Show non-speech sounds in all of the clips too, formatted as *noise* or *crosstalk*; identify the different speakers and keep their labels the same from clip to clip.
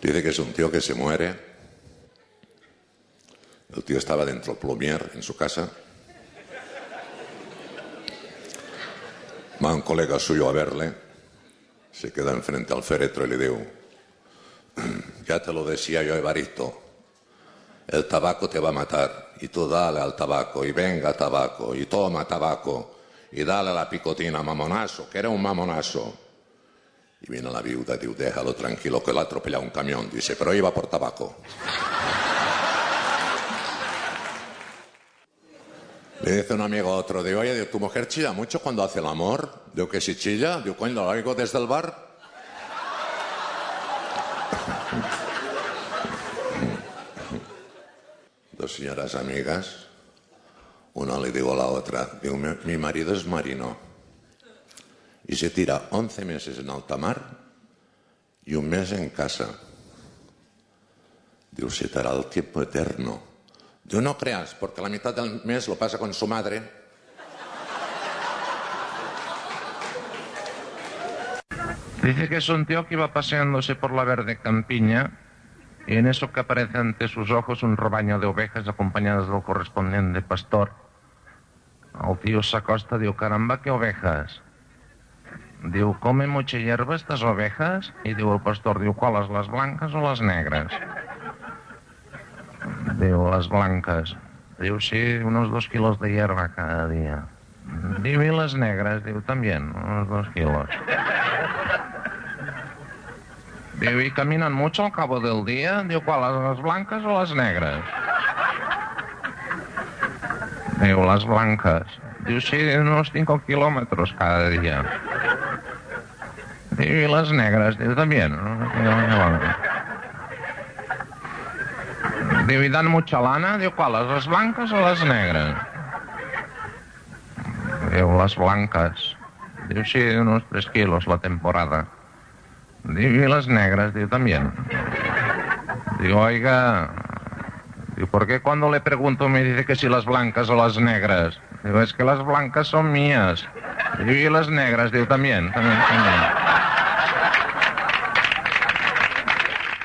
Speaker 1: Dice que es un tío que se muere. El tío estaba dentro plumier en su casa. Va un colega suyo a verle, se queda enfrente al féretro y le digo, *clears throat* ya te lo decía yo, Evaristo, el tabaco te va a matar, y tú dale al tabaco, y venga tabaco, y toma tabaco, y dale a la picotina, mamonazo, que era un mamonazo. Y viene la viuda, digo, déjalo tranquilo, que lo ha atropellado un camión. Dice, pero iba por tabaco. Le dice un amigo a otro, digo, oye, digo, ¿tu mujer chilla mucho cuando hace el amor? Digo, que si chilla, digo, coño, lo oigo desde el bar. Dos señoras amigas, una le digo a la otra, digo, mi, mi marido es marino y se tira 11 meses en alta mar y un mes en casa. Digo, se te hará el tiempo eterno. Digo, no creas, porque la mitad del mes lo pasa con su madre.
Speaker 2: Dice que es un tío que iba paseándose por la verde campiña y en eso que aparece ante sus ojos un rebaño de ovejas acompañadas del correspondiente pastor. El tío se acosta, digo, caramba, qué ovejas. Diu, comen mucha hierba estas ovejas? I diu el pastor, diu, quales, les blanques o les negres? Diu, les blanques. Diu, sí, unos dos kilos de hierba cada dia. Diu, i les negres? Diu, també, unos dos kilos. Diu, i caminen mucho al cabo del dia? Diu, quales, les blanques o les negres? Diu, les blanques. Diu, sí, unos 5 kilómetros cada día. Diu, y las negras, diu, también. ¿no? Diu, y dan mucha lana, diu, ¿cuáles? ¿Las blancas o las negras? Diu, las blancas. Diu, sí, unos 3 kilos la temporada. Diu, y las negras, diu, también. Diu, oiga, diu, ¿por qué cuando le pregunto me dice que si las blancas o las negras? Digo, es que las blancas son mías. Digo, y las negras, digo, también, también, también.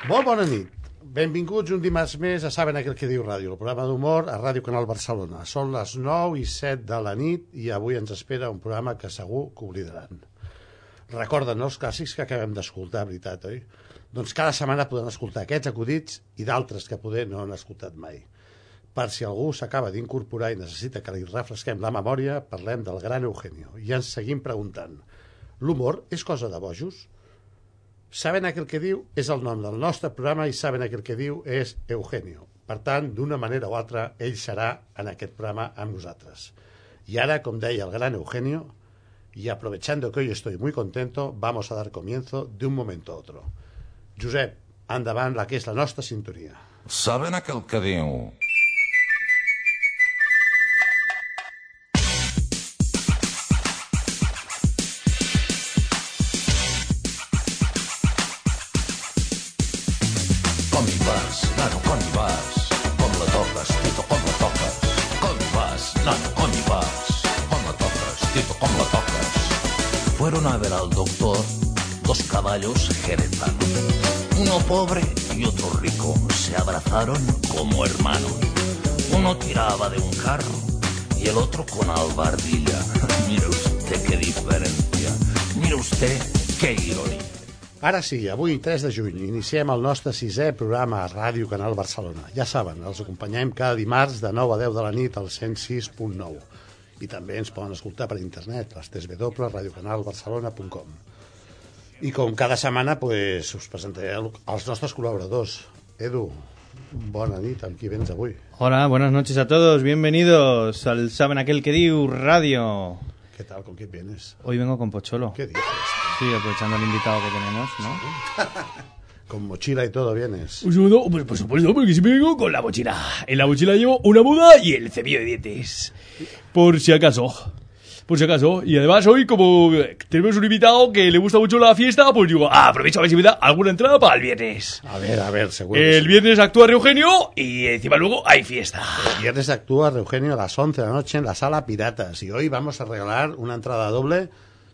Speaker 3: Molt bona nit. Benvinguts un dimarts més a Saben aquell que diu ràdio, el programa d'humor a Ràdio Canal Barcelona. Són les 9 i 7 de la nit i avui ens espera un programa que segur que oblidaran. Recorden els clàssics que acabem d'escoltar, veritat, oi? Doncs cada setmana podran escoltar aquests acudits i d'altres que poder no han escoltat mai. Per si algú s'acaba d'incorporar i necessita que li refresquem la memòria, parlem del gran Eugenio. I ens seguim preguntant, l'humor és cosa de bojos? Saben aquell que diu és el nom del nostre programa i Saben aquell que diu és Eugenio. Per tant, d'una manera o altra, ell serà en aquest programa amb nosaltres. I ara, com deia el gran Eugenio, y aprovechando que hoy estoy muy contento, vamos a dar comienzo de un momento a otro. Josep, endavant la que és la nostra sintonia.
Speaker 4: Saben aquell que diu?
Speaker 5: Com hi vas, nano, com hi vas? Com la toques, tito, com la toques? Com hi vas, nano, com hi vas? Com la toques, tito, com la toques? Fueron a ver al doctor dos caballos jeretanos. Uno pobre y otro rico se abrazaron como hermanos. Uno tiraba de un carro y el otro con albardilla. *laughs* Mire usted qué diferencia. Mire usted qué ironía.
Speaker 3: Ara sí, avui 3 de juny, iniciem el nostre sisè programa a Ràdio Canal Barcelona. Ja saben, els acompanyem cada dimarts de 9 a 10 de la nit al 106.9. I també ens poden escoltar per internet, les www.radiocanalbarcelona.com. I com cada setmana, pues, us presentaré el- els nostres col·laboradors. Edu, bona nit, amb qui vens avui?
Speaker 6: Hola, buenas noches a todos. Bienvenidos al Saben Aquel que Diu Radio.
Speaker 3: Què tal, com qui et vienes?
Speaker 6: Hoy vengo con Pocholo.
Speaker 3: ¿Qué dices?
Speaker 6: Sí, aprovechando el invitado que tenemos, ¿no?
Speaker 3: Con mochila y todo vienes.
Speaker 7: Un segundo, pues por supuesto, porque siempre vengo con la mochila. En la mochila llevo una muda y el cepillo de dientes. Por si acaso. Por si acaso. Y además hoy, como tenemos un invitado que le gusta mucho la fiesta, pues digo, ah, aprovecho a ver si me da alguna entrada para el viernes.
Speaker 3: A ver, a ver, seguro. que
Speaker 7: El
Speaker 3: sí.
Speaker 7: viernes actúa Eugenio y encima luego hay fiesta.
Speaker 3: El viernes actúa Eugenio a las 11 de la noche en la sala Piratas y hoy vamos a regalar una entrada doble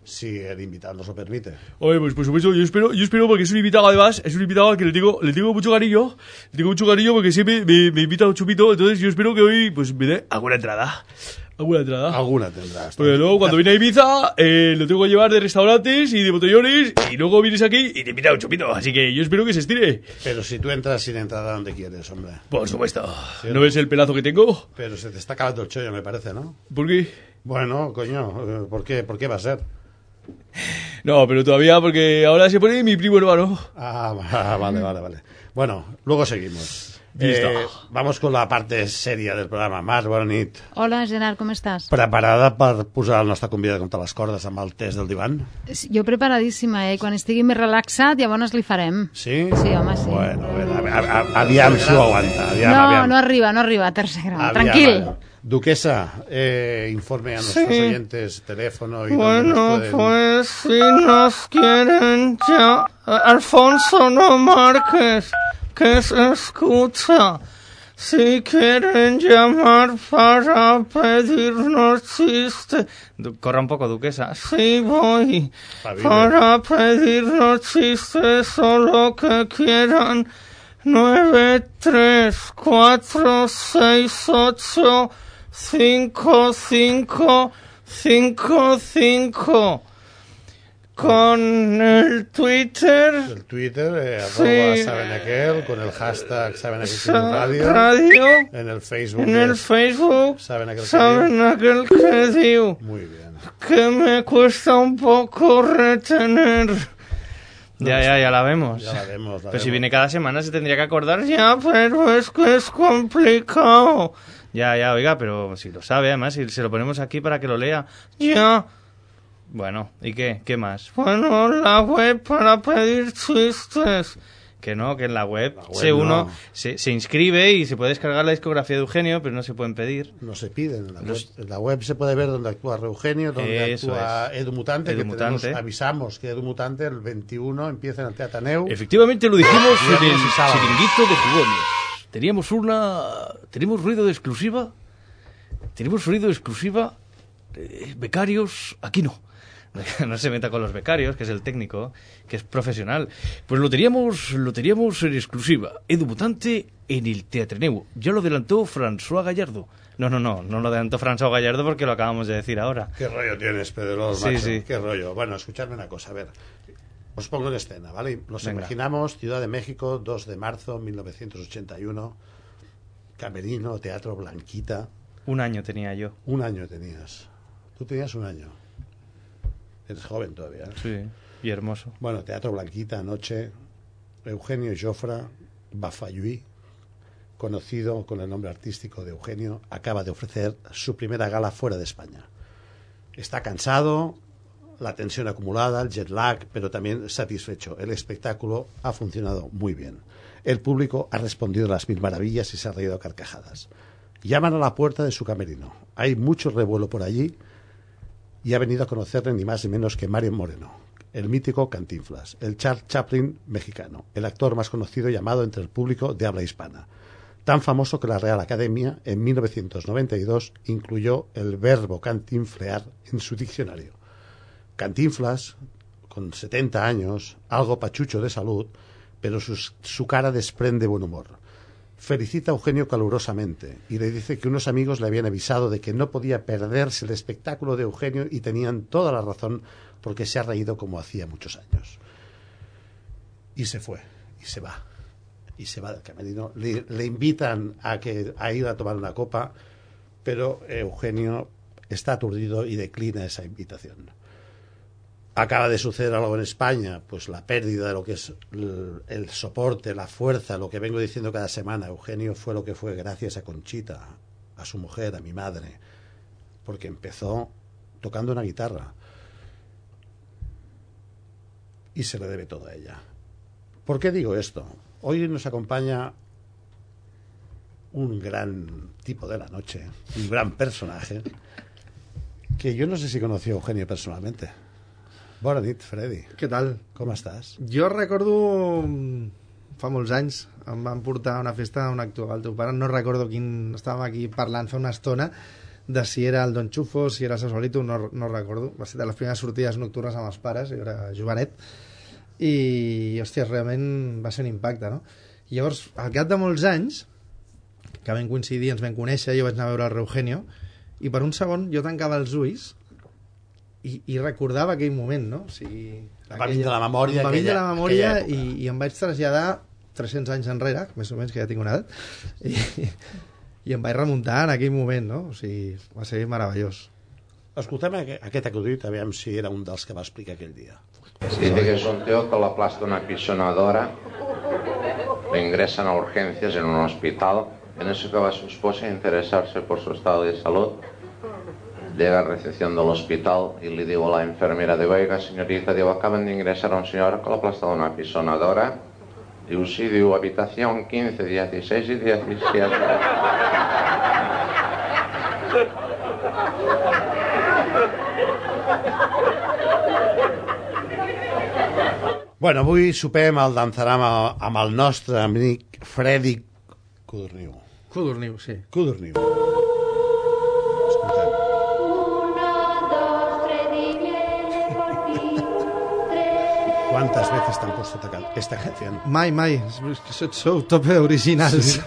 Speaker 3: si el invitado nos lo permite.
Speaker 7: Oye, pues por supuesto, yo espero, yo espero porque es un invitado además, es un invitado al que le tengo, le tengo mucho cariño, le tengo mucho cariño porque siempre me, me invita a un chupito, entonces yo espero que hoy pues me dé alguna entrada. Alguna entrada.
Speaker 3: Alguna tendrás.
Speaker 7: Porque luego cuando viene a Ibiza, eh, lo tengo que llevar de restaurantes y de botellones, y luego vienes aquí y te invita a un chupito, así que yo espero que se estire.
Speaker 3: Pero si tú entras sin entrada donde quieres, hombre.
Speaker 7: Por supuesto. ¿No ves el pelazo que tengo?
Speaker 3: Pero se te está acabando el chollo, me parece, ¿no?
Speaker 7: ¿Por qué?
Speaker 3: Bueno, coño, eh, ¿por qué, por qué va a ser?
Speaker 7: No, pero todavía porque ahora se pone mi primo hermano.
Speaker 3: Ah, va- vale, vale, vale. Bueno, luego seguimos.
Speaker 7: Listo.
Speaker 3: Eh, vamos con la parte seria del programa. Mar Boronit,
Speaker 8: Hola, Gerard, com estàs?
Speaker 3: preparada per posar el nostre convidat contra les cordes amb el test del divan?
Speaker 8: Jo preparadíssima, eh? Quan estigui més relaxat, llavors li farem.
Speaker 3: Sí?
Speaker 8: Sí, home, sí.
Speaker 3: Bueno, a veure, a, a, aviam si ho aguanta. Aviam,
Speaker 8: no,
Speaker 3: aviam.
Speaker 8: no arriba, no arriba, a tercer grau.
Speaker 3: Aviam,
Speaker 8: Tranquil.
Speaker 3: aviam. Duquesa, eh, informe a nuestros oyentes, teléfono y dónde
Speaker 9: Bueno,
Speaker 3: nos pueden...
Speaker 9: pues si nos quieren ya, Alfonso no Márquez, que se escucha. Si quieren llamar para pedirnos chiste. Du- Corra un poco, duquesa. pues, Sí, voy.
Speaker 3: Pabile.
Speaker 9: Para pedirnos chistes o lo que quieran. Nueve, tres, cuatro, seis, ocho, cinco, cinco, cinco, cinco. Con el Twitter,
Speaker 3: El Twitter, eh,
Speaker 9: Sí.
Speaker 3: arroba saben aquel, con el hashtag saben aquel Sin
Speaker 9: sa-
Speaker 3: radio,
Speaker 9: radio,
Speaker 3: en el Facebook,
Speaker 9: en el
Speaker 3: es
Speaker 9: Facebook,
Speaker 3: saben aquel
Speaker 9: saben aquel que digo.
Speaker 3: Muy bien.
Speaker 9: que me cuesta un poco retener. Ya, ya, ya la vemos.
Speaker 3: Ya la vemos, la
Speaker 9: Pero si
Speaker 3: vemos.
Speaker 9: viene cada semana se tendría que acordar ya, pero es que es complicado. Ya, ya, oiga, pero si lo sabe, además, si se lo ponemos aquí para que lo lea. Ya. Bueno, ¿y qué? ¿Qué más? Bueno, la web para pedir chistes. Que no, que en la web,
Speaker 3: web
Speaker 9: se uno
Speaker 3: no.
Speaker 9: se, se inscribe y se puede descargar la discografía de Eugenio, pero no se pueden pedir.
Speaker 3: No se piden en la
Speaker 9: Los-
Speaker 3: web. En la web se puede ver dónde actúa Eugenio, dónde
Speaker 9: Eso
Speaker 3: actúa
Speaker 9: es.
Speaker 3: Edu Mutante,
Speaker 9: Edu
Speaker 3: que tenemos-
Speaker 9: Mutante.
Speaker 3: avisamos que Edu Mutante el 21 empieza en el Teataneu.
Speaker 7: Efectivamente lo dijimos en el
Speaker 3: Viernes y sábado.
Speaker 7: chiringuito de jugones. Teníamos una... Tenemos ruido de exclusiva. Tenemos ruido de exclusiva. eh, becarios, aquí no.
Speaker 9: *laughs* no se meta con los becarios, que es el técnico, que es profesional. Pues lo teníamos, lo teníamos en exclusiva. Edu Mutante en el Teatreneu. Ya lo adelantó François Gallardo. No, no, no, no lo adelantó François Gallardo porque lo acabamos de decir ahora.
Speaker 3: ¿Qué rollo tienes, Pedro?
Speaker 9: Sí, sí.
Speaker 3: ¿Qué rollo? Bueno, escuchadme una cosa, a ver. Os pongo en escena, ¿vale? Nos
Speaker 9: Venga.
Speaker 3: imaginamos Ciudad de México, 2 de marzo 1981, Camerino, Teatro Blanquita.
Speaker 9: Un año tenía yo.
Speaker 3: Un año tenías. Tú tenías un año. Eres joven todavía. ¿eh?
Speaker 9: Sí. Y hermoso.
Speaker 3: Bueno, Teatro Blanquita, Noche, Eugenio Jofra, Bafayuí, conocido con el nombre artístico de Eugenio, acaba de ofrecer su primera gala fuera de España. Está cansado, la tensión acumulada, el jet lag, pero también satisfecho. El espectáculo ha funcionado muy bien. El público ha respondido a las mil maravillas y se ha reído a carcajadas. Llaman a la puerta de su camerino. Hay mucho revuelo por allí y ha venido a conocerle ni más ni menos que Mario Moreno, el mítico Cantinflas, el Charles Chaplin mexicano, el actor más conocido y amado entre el público de habla hispana. Tan famoso que la Real Academia, en 1992, incluyó el verbo cantinflear en su diccionario. Cantinflas, con 70 años, algo pachucho de salud, pero sus- su cara desprende buen humor. Felicita a Eugenio calurosamente y le dice que unos amigos le habían avisado de que no podía perderse el espectáculo de Eugenio y tenían toda la razón porque se ha reído como hacía muchos años. Y se fue, y se va, y se va del camerino. Le, le invitan a, que, a ir a tomar una copa, pero Eugenio está aturdido y declina esa invitación acaba de suceder algo en España, pues la pérdida de lo que es el, el soporte, la fuerza, lo que vengo diciendo cada semana. Eugenio fue lo que fue gracias a Conchita, a su mujer, a mi madre, porque empezó tocando una guitarra y se le debe todo a ella. ¿Por qué digo esto? Hoy nos acompaña un gran tipo de la noche, un gran personaje, que yo no sé si conocí a Eugenio personalmente. Bona nit, Freddy.
Speaker 10: Què tal?
Speaker 3: Com estàs?
Speaker 10: Jo recordo mm, fa molts anys em van portar a una festa on actuava el teu pare, no recordo quin estàvem aquí parlant fa una estona de si era el Don Xufo, si era el Sausalito, no, no recordo. Va ser de les primeres sortides nocturnes amb els pares, jo era jovenet, i, hòstia, realment va ser un impacte, no? I llavors, al cap de molts anys, que vam coincidir, ens vam conèixer, jo vaig anar a veure el Reugenio, i per un segon jo tancava els ulls i, i recordava aquell moment, no? O sigui,
Speaker 3: Em va vindre la memòria
Speaker 10: Em va vindre
Speaker 3: aquella-
Speaker 10: la memòria
Speaker 3: aquella
Speaker 10: i, i em vaig traslladar 300 anys enrere, més o menys que ja tinc una edat, i, i em vaig remuntar en aquell moment, no? O sigui, va ser meravellós.
Speaker 3: Escoltem aqu- aquest acudit, aviam si era un dels que va explicar aquell dia.
Speaker 2: Dice que solteó con la aplasta una apisonadora, lo ingresan a urgencias en un hospital. En eso que va su esposa a interesarse por su estado de salud. Llega a recepción del hospital y le digo a la enfermera, digo, oiga señorita, digo, acaban de ingresar a un señor con la aplasta de una apisonadora. Digo, sí, digo, habitación 15, 16 y 17.
Speaker 3: Bueno, avui sopem al Danzaram a- amb el nostre amic Freddy Codorniu.
Speaker 10: Codorniu, sí.
Speaker 3: Codorniu. ¿Cuántas veces te han puesto esta ca- esta canción?
Speaker 10: Mai, mai. És que sou, sou top originals.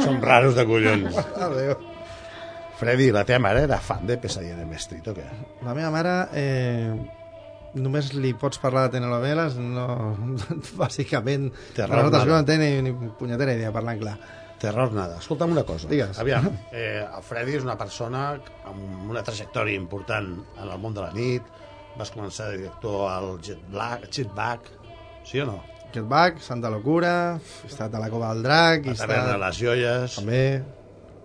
Speaker 3: Som raros de collons.
Speaker 10: Adéu.
Speaker 3: Freddy, la teva mare era fan de Pesadilla en el Street, o què?
Speaker 10: La meva mare... Eh, només li pots parlar de telenovel·les, no... *laughs* Bàsicament,
Speaker 3: Terror
Speaker 10: nosaltres
Speaker 3: nada.
Speaker 10: no en tenen ni punyetera idea, parlant clar.
Speaker 3: Terror nada. Escolta'm una cosa.
Speaker 10: Digues. *laughs*
Speaker 3: Aviam, eh, el Freddy és una persona amb una trajectòria important en el món de la nit. Vas començar de director al Jet Black, Jet Back, sí o no?
Speaker 10: Jetback, Santa Locura, he estat a la Cova del Drac... he
Speaker 3: La taverna de les joies.
Speaker 10: També.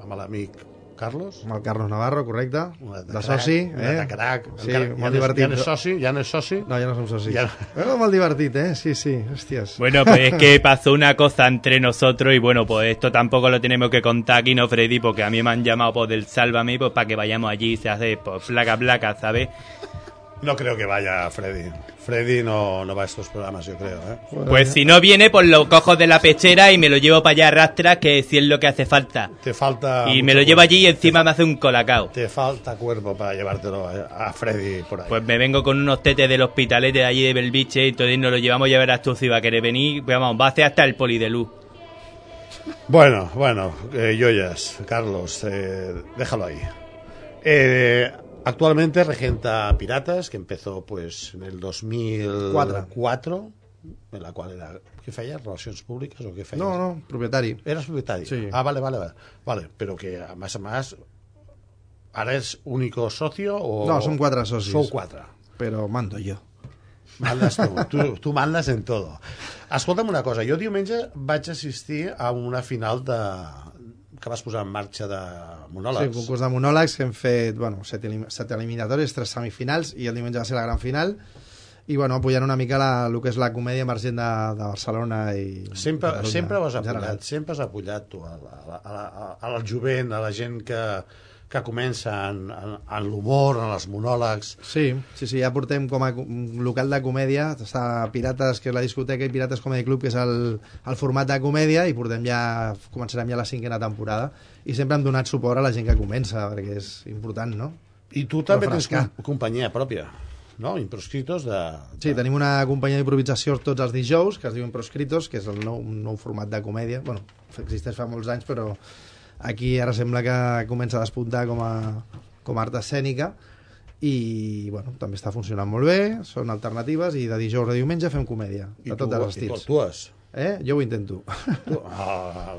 Speaker 3: Amb l'amic Carlos.
Speaker 10: Amb el Carlos Navarro, correcte. De
Speaker 3: crac,
Speaker 10: soci,
Speaker 3: un
Speaker 10: eh?
Speaker 3: atacrac.
Speaker 10: Sí,
Speaker 3: Encara- ja no
Speaker 10: molt
Speaker 3: és-
Speaker 10: divertit.
Speaker 3: ja no és soci, ja no és soci.
Speaker 10: No, ja no som socis.
Speaker 3: Ja-
Speaker 10: Ja... Però molt divertit, eh? Sí, sí, hòsties.
Speaker 9: Bueno, pues es que pasó una cosa entre nosotros y bueno, pues esto tampoco lo tenemos que contar aquí, ¿no, Freddy? Porque a mí me han llamado por del Sálvame pues para que vayamos allí y se hace pues placa, placa, ¿sabes?
Speaker 3: No creo que vaya Freddy. Freddy no, no va a estos programas, yo creo, ¿eh?
Speaker 9: Pues si no viene, pues lo cojo de la pechera y me lo llevo para allá arrastra, que si es lo que hace falta.
Speaker 3: Te falta...
Speaker 9: Y
Speaker 3: mucho
Speaker 9: me lo llevo
Speaker 3: cuerpo.
Speaker 9: allí y encima me hace un colacao.
Speaker 3: Te falta cuerpo para llevártelo a, a Freddy por ahí.
Speaker 9: Pues me vengo con unos tetes del hospitalete de allí de Belviche y entonces nos lo llevamos ya verás tú si va a querer venir. Pues, Vamos, va a hacer hasta el polidelú.
Speaker 3: Bueno, bueno, eh, Yoyas, Carlos, eh, déjalo ahí. Eh, actualmente regenta Piratas, que empezó pues en el 2004, en la cual era... ¿Qué falla? ¿Relaciones públicas o qué falla?
Speaker 10: No, no, propietari.
Speaker 3: Eras propietari.
Speaker 10: Sí.
Speaker 3: Ah, vale, vale, vale. Vale, pero que a más a más... ¿Ahora es único socio o...?
Speaker 10: No, som quatre socis.
Speaker 3: Sou quatre.
Speaker 10: Però mando jo.
Speaker 3: Mandes tu, tu, tu mandes en todo. Escolta'm una cosa, jo diumenge vaig assistir a una final de que vas posar en marxa de
Speaker 10: Sí, un
Speaker 3: monòlegs.
Speaker 10: concurs de monòlegs que hem fet bueno, set, elim set eliminatòries, tres semifinals i el diumenge va ser la gran final i bueno, apoyant una mica la, el que és la comèdia emergent de, de Barcelona i
Speaker 3: sempre,
Speaker 10: Catalunya,
Speaker 3: sempre ho has
Speaker 10: en general.
Speaker 3: apoyat, sempre has apoyat tu a la- a la- a la- a- al jovent, a la gent que, que comença en, en, en l'humor, en els monòlegs.
Speaker 10: Sí, sí, sí, ja portem com a co- un local de comèdia, està a Pirates, que és la discoteca, i Pirates Comedy Club, que és el, el format de comèdia, i portem ja, començarem ja la cinquena temporada, i sempre hem donat suport a la gent que comença, perquè és important, no?
Speaker 3: I tu també tens com- companyia pròpia, no? Improscritos de...
Speaker 10: Sí,
Speaker 3: Doncs-
Speaker 10: tenim una companyia d'improvisació tots els dijous, que es diu Improscritos, que és el nou, un nou format de comèdia. bueno, existeix fa molts anys, però aquí ara sembla que comença a despuntar com a, com a art escènica i bueno, també està funcionant molt bé, són alternatives i de dijous a diumenge fem comèdia, de
Speaker 3: tu-
Speaker 10: tots els
Speaker 3: i tu
Speaker 10: estils.
Speaker 3: actues.
Speaker 10: Eh? Jo ho intento. *laughs*
Speaker 3: Tu- Ah,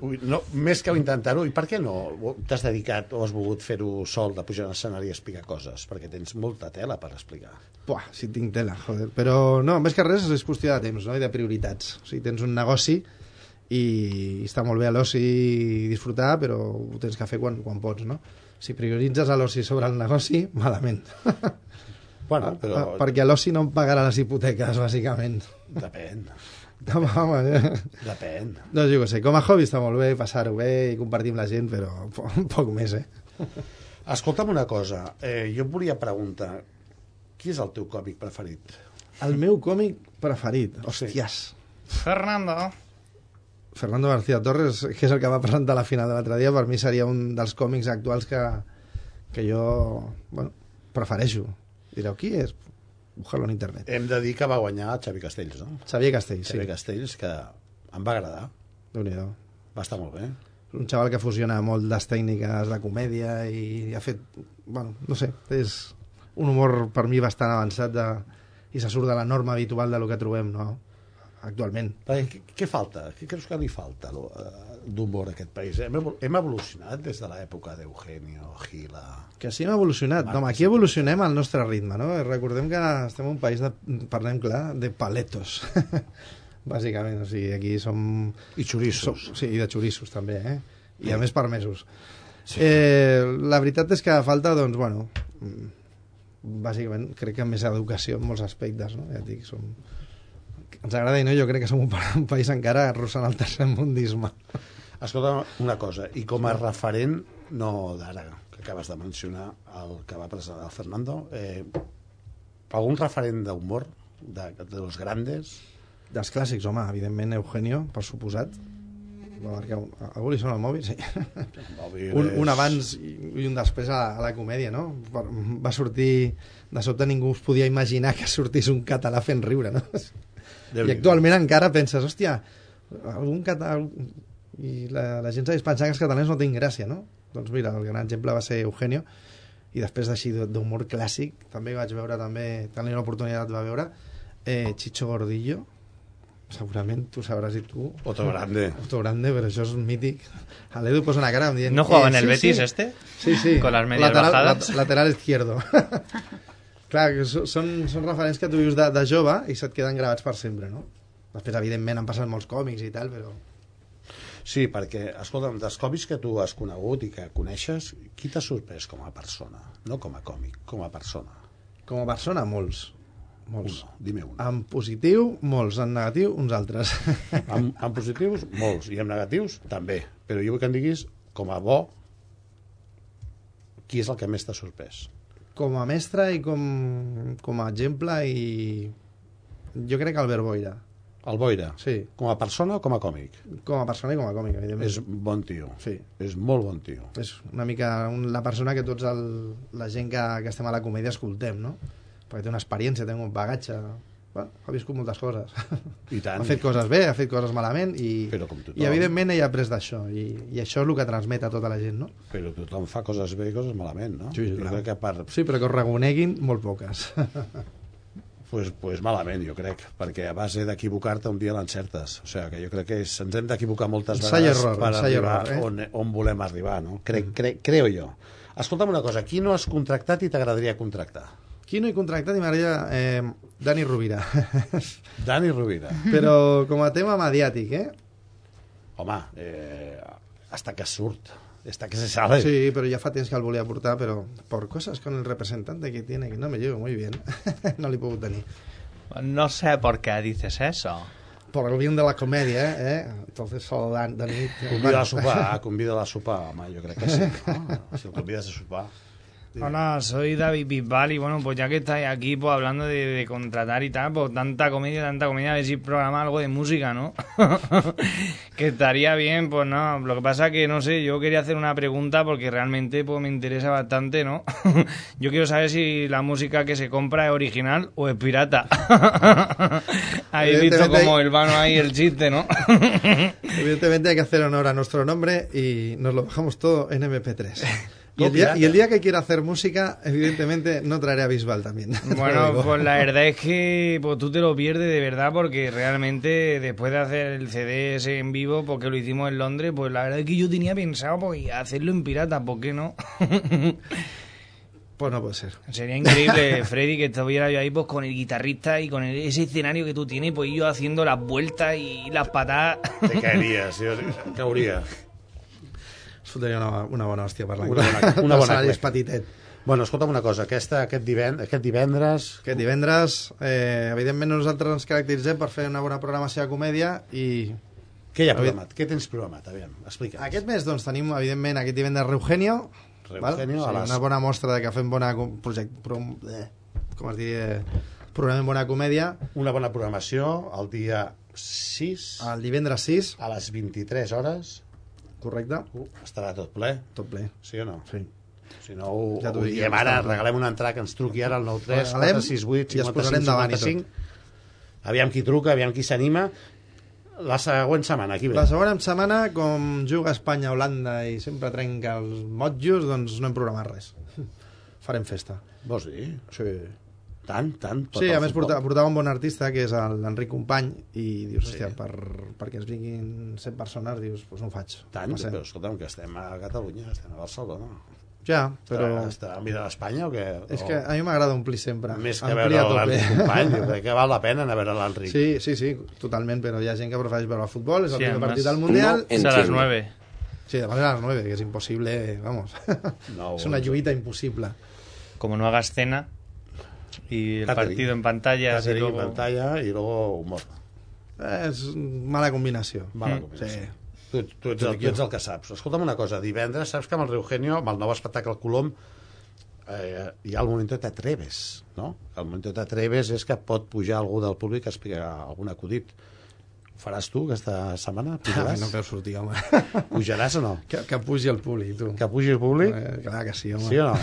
Speaker 3: Ui, no, més que intentar-ho, i per què no t'has dedicat o has volgut fer-ho sol de pujar a l'escenari i explicar coses? Perquè tens molta tela per explicar.
Speaker 10: Buah, si tinc tela, joder. Però no, més que res és qüestió de temps no? i de prioritats. O sigui, tens un negoci i està molt bé a l'oci i disfrutar, però ho tens que fer quan, quan pots, no? Si prioritzes a l'oci sobre el negoci, malament.
Speaker 3: *laughs* Bueno,
Speaker 10: Ah,
Speaker 3: però...
Speaker 10: Perquè l'oci no em pagarà les hipoteques, bàsicament. *laughs*
Speaker 3: Depèn,
Speaker 10: No, home, eh?
Speaker 3: depèn.
Speaker 10: no, jo què sé, com a hobby està molt bé, passar-ho bé i compartir amb la gent, però *laughs* po- poc més, eh?
Speaker 3: Escolta'm una cosa, eh, jo et volia preguntar, qui és el teu còmic preferit?
Speaker 10: El meu còmic preferit, hòsties.
Speaker 11: Fernando.
Speaker 10: Fernando García Torres, que és el que va presentar la final de l'altre dia, per mi seria un dels còmics actuals que, que jo bueno, prefereixo. Direu, qui és? Buscar-lo en internet.
Speaker 3: Hem de dir que va guanyar Xavi Castells, no?
Speaker 10: Xavier Castells, sí.
Speaker 3: Xavi Castells, que em va agradar.
Speaker 10: déu nhi
Speaker 3: Va estar molt bé.
Speaker 10: Un xaval que fusiona molt les tècniques de comèdia i ha fet, bueno, no sé, és un humor per mi bastant avançat de, i se surt de la norma habitual de lo que trobem, no? actualment.
Speaker 3: Perquè, què, què falta? Què creus que li falta lo- eh, d'humor a aquest país? Hem, evol- hem evolucionat des de l'època d'Eugenio, Gila...
Speaker 10: Que sí, hem evolucionat. No, home, aquí evolucionem al nostre ritme, no? Eh, Recordem que estem en un país, de, parlem clar, de paletos. *laughs* Bàsicament, o sigui, aquí som...
Speaker 3: I xorissos.
Speaker 10: Som, sí, i de xorissos també, eh? I a més permesos. Sí. Eh, la veritat és que falta, doncs, bueno, mm, bàsicament crec que més educació en molts aspectes, no? Ja et dic, som... Ens agrada i no, jo crec que som un, pa- un país encara arrossant el tercer mundisme.
Speaker 3: Escolta una cosa, i com a referent, no d'ara, que acabes de mencionar el que va presentar el Fernando, eh, algun referent d'humor, de, de los grandes,
Speaker 10: dels clàssics, home, evidentment Eugenio, per suposat va marcar un... a- algú li sona el mòbil? Sí.
Speaker 3: mòbil
Speaker 10: un,
Speaker 3: és-
Speaker 10: un abans i i un després a, a la comèdia no? Per- va sortir de sobte ningú es podia imaginar que sortís un català fent riure no? i
Speaker 3: Déu-n'hi-do.
Speaker 10: actualment encara penses hòstia, algun català i la, la gent s'ha pensar que els catalans no tenen gràcia no? doncs mira, el gran exemple va ser Eugenio i després d'així d- d'humor clàssic també vaig veure també, tenint l'oportunitat va veure eh, Chicho Gordillo segurament tu sabràs i tu
Speaker 3: Otro grande.
Speaker 10: Otro grande, però això és mític a l'Edu posa una cara em dient
Speaker 9: ¿No jugaba en el Betis este?
Speaker 10: Eh, sí, sí
Speaker 9: Con las medias
Speaker 10: lateral,
Speaker 9: bajadas.
Speaker 10: lat- lateral izquierdo *laughs* clar, que so- són, són referents que tu vius de, de jove i se't queden gravats per sempre no? després evidentment han passat molts còmics i tal però
Speaker 3: Sí, perquè, escolta'm, dels còmics que tu has conegut i que coneixes, qui t'ha sorprès com a persona? No com a còmic, com a persona.
Speaker 10: com a persona molts molts.
Speaker 3: Uno, dime un.
Speaker 10: en positiu molts, en negatiu uns
Speaker 3: *laughs*
Speaker 10: altres
Speaker 3: En, en positius, molts, i en negatius, també. Però jo vull que em diguis, com a bo, qui és el que més t'ha sorprès?
Speaker 10: *laughs* com a mestre i com, com a exemple i jo crec que Albert Boira
Speaker 3: El Boira.
Speaker 10: Sí.
Speaker 3: Com a persona o com a còmic?
Speaker 10: com a persona i com a còmic evidentment.
Speaker 3: És bon tio.
Speaker 10: Sí.
Speaker 3: És molt bon tio.
Speaker 10: és una mica un, la persona que tots el, la gent que, que estem a la comèdia escoltem no? perquè té una experiència, té un bagatge bueno, ha viscut moltes coses
Speaker 3: I tant.
Speaker 10: ha fet coses bé, ha fet coses malament i,
Speaker 3: Però com tothom.
Speaker 10: i evidentment ell ha après d'això i, i això és el que transmet a tota la gent no?
Speaker 3: Però tothom fa coses bé i coses malament, no?
Speaker 10: Sí, sí,
Speaker 3: jo
Speaker 10: clar.
Speaker 3: crec que per...
Speaker 10: sí, però que ho reconeguin molt poques *laughs*
Speaker 3: pues, pues malament, jo crec, perquè a base d'equivocar-te un dia l'encertes. O sigui, que jo crec que és- ens hem d'equivocar moltes
Speaker 10: Ensai
Speaker 3: vegades
Speaker 10: error,
Speaker 3: per
Speaker 10: ensai
Speaker 3: arribar
Speaker 10: error, eh? Mm.
Speaker 3: on, on volem arribar, no? Crec, crec, creo jo. Escolta'm una cosa, qui no has contractat i t'agradaria contractar?
Speaker 10: qui no he contractat i m'agradaria eh, Dani Rovira *laughs*
Speaker 3: Dani Rovira.
Speaker 10: Mm. però com a tema mediàtic eh?
Speaker 3: Home, eh, hasta que surt, hasta que se sale.
Speaker 10: Sí, pero ya fa temps que el volia portar, pero por cosas con el representante que tiene, que no me llevo muy bien, *laughs* no li he pogut tenir.
Speaker 9: No sé por qué dices eso.
Speaker 10: Por el bien de la comedia, eh? Entonces, solo Dan- Dani...
Speaker 3: Convida a sopar, convida Ah, a sopar, home, jo crec que sí. No? Si el convides a sopar.
Speaker 9: Hola, soy David Bisbal y bueno, pues ya que estáis aquí pues, hablando de, de contratar y tal, pues tanta comedia, tanta comedia, a ver si programa algo de música, ¿no? *laughs* que estaría bien, pues no, lo que pasa que no sé, yo quería hacer una pregunta porque realmente pues me interesa bastante, ¿no? *laughs* yo quiero saber si la música que se compra es original o es pirata. *laughs* Habéis visto
Speaker 10: Evidentemente-
Speaker 9: como el vano ahí el chiste, ¿no?
Speaker 10: *laughs* Evidentemente hay que hacer honor a nuestro nombre y nos lo bajamos todo en MP3. *laughs* Y el, día,
Speaker 9: *laughs* pirata.
Speaker 10: y el día que quiera hacer música, evidentemente no traeré a Bisbal también. *laughs* Te lo
Speaker 9: Bueno,
Speaker 10: digo. *laughs*
Speaker 9: pues la verdad es que pues, tú te lo pierdes de verdad porque realmente después de hacer el CD ese en vivo, porque lo hicimos en Londres, pues la verdad es que yo tenía pensado pues, hacerlo en pirata, ¿por qué no? *laughs*
Speaker 10: Pues no puede ser. *laughs*
Speaker 9: Sería increíble, Freddy, que estuviera yo ahí pues con el guitarrista y con el- ese escenario que tú tienes, pues yo haciendo las vueltas y las patadas. *laughs*
Speaker 3: Te caeries, jo cauria.
Speaker 10: Fotaria una, una bona hòstia per la
Speaker 3: Una bona- una
Speaker 10: per
Speaker 3: bona
Speaker 10: salari
Speaker 3: clec.
Speaker 10: petitet.
Speaker 3: Bueno, escolta'm una cosa, aquesta, aquest, divend, aquest divendres...
Speaker 10: Aquest divendres, eh, evidentment nosaltres ens caracteritzem per fer una bona programació de comèdia i...
Speaker 3: Què hi ha programat? Què tens programat? Aviam, explica'ns.
Speaker 10: Aquest mes doncs, tenim, evidentment, aquest divendres Reugenio,
Speaker 3: Reugenio, a
Speaker 10: sí,
Speaker 3: les-
Speaker 10: una bona mostra de que fem bona com- project, prom, eh, com es diria, eh, programem bona comèdia.
Speaker 3: Una bona programació, el dia 6.
Speaker 10: El divendres 6.
Speaker 3: A les 23 hores.
Speaker 10: Correcte.
Speaker 3: Uh, estarà tot ple.
Speaker 10: Tot ple.
Speaker 3: Sí o no?
Speaker 10: Sí.
Speaker 3: Si no, ho,
Speaker 10: Ja
Speaker 3: ja
Speaker 10: t'ho
Speaker 3: ho
Speaker 10: dic,
Speaker 3: diem
Speaker 10: ja
Speaker 3: ara,
Speaker 10: està.
Speaker 3: regalem un entrà que ens truqui ara al 93
Speaker 10: Regalem
Speaker 3: 468
Speaker 10: i ens posarem
Speaker 3: 55
Speaker 10: davant i tot.
Speaker 3: 55. Aviam qui truca, aviam qui s'anima. La següent setmana, aquí ve.
Speaker 10: La segona setmana, com juga Espanya-Holanda i sempre trenca els motllos, doncs no hem programat res. *laughs* Farem festa.
Speaker 3: Vols dir?
Speaker 10: Sí.
Speaker 3: Tant, tant. pot
Speaker 10: Sí,
Speaker 3: el
Speaker 10: a més
Speaker 3: futbol.
Speaker 10: portava, portava un bon artista, que és el- l'Enric Company, i dius, hòstia, per, perquè ens vinguin 100 persones, dius, doncs no ho faig.
Speaker 3: Tant,
Speaker 10: Passem.
Speaker 3: però escolta'm, que estem a Catalunya, estem a Barcelona.
Speaker 10: Ja, però-
Speaker 3: Està, està a mirar a Espanya o què?
Speaker 10: És
Speaker 3: O-
Speaker 10: que a mi m'agrada omplir sempre.
Speaker 3: Oh. Més que
Speaker 10: Omplir
Speaker 3: veure
Speaker 10: a tope.
Speaker 3: l'Enric Company,
Speaker 10: *laughs*
Speaker 3: jo crec que val la pena anar a veure l'Enric.
Speaker 10: Sí, sí, sí, totalment, però hi ha gent que prefereix veure el futbol, és el
Speaker 9: Sí,
Speaker 10: primer
Speaker 9: además,
Speaker 10: partit del Mundial.
Speaker 9: no Es a las entiendo. nueve.
Speaker 10: Sí, demà a les 9, que és impossible, vamos.
Speaker 9: No,
Speaker 10: *laughs* és una
Speaker 9: bueno.
Speaker 10: lluita impossible.
Speaker 9: Como no hagas cena y el
Speaker 10: Catering.
Speaker 9: partido en pantalla.
Speaker 10: Catering en
Speaker 3: pantalla y luego humor.
Speaker 10: És mala combinació.
Speaker 3: Mala
Speaker 10: Mm.
Speaker 3: combinació.
Speaker 10: Sí.
Speaker 3: Tu, tu, ets, el, tu ets el que saps. Escolta'm una cosa, divendres saps que amb el Eugenio, amb el nou espectacle Colom, eh, hi ha el moment que t'atreves, no? El moment que t'atreves és que pot pujar algú del públic a explicar algun acudit. Ho faràs tu aquesta setmana? Pujaràs?
Speaker 10: Ai, no em feu sortir, home.
Speaker 3: Pujaràs o no?
Speaker 10: Ah, Que, que pugi el públic, tu.
Speaker 3: Que pugi el públic?
Speaker 10: Eh, clar que sí, home.
Speaker 3: Sí o no?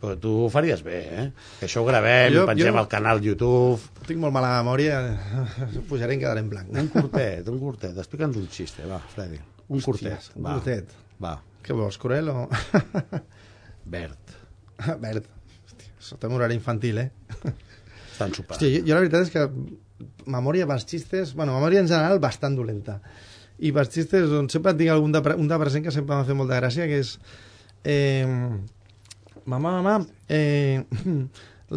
Speaker 3: Però tu ho faries bé, eh? Que això ho gravem,
Speaker 10: Jo-
Speaker 3: jo, pengem
Speaker 10: jo-
Speaker 3: al canal YouTube...
Speaker 10: *laughs* Tinc molt mala memòria, *laughs* pujaré i quedaré en blanc.
Speaker 3: Un curtet, un curtet. Explica'ns un xiste, va, Freddy. Un curtet.
Speaker 10: un
Speaker 3: va.
Speaker 10: curtet.
Speaker 3: Va.
Speaker 10: Què vols, Corel o...?
Speaker 3: *laughs* Verd.
Speaker 10: *laughs* Verd. Hòstia, sota un horari infantil,
Speaker 3: *laughs*
Speaker 10: eh?
Speaker 3: Està en sopar.
Speaker 10: Hòstia, jo, jo la veritat és que memòria pels xistes... Bueno, memòria en general bastant dolenta. I pels xistes, doncs, sempre et dic algun de, pre- un de present que sempre m'ha fet molta gràcia, que és... Eh, mamá, mamá, eh, *laughs*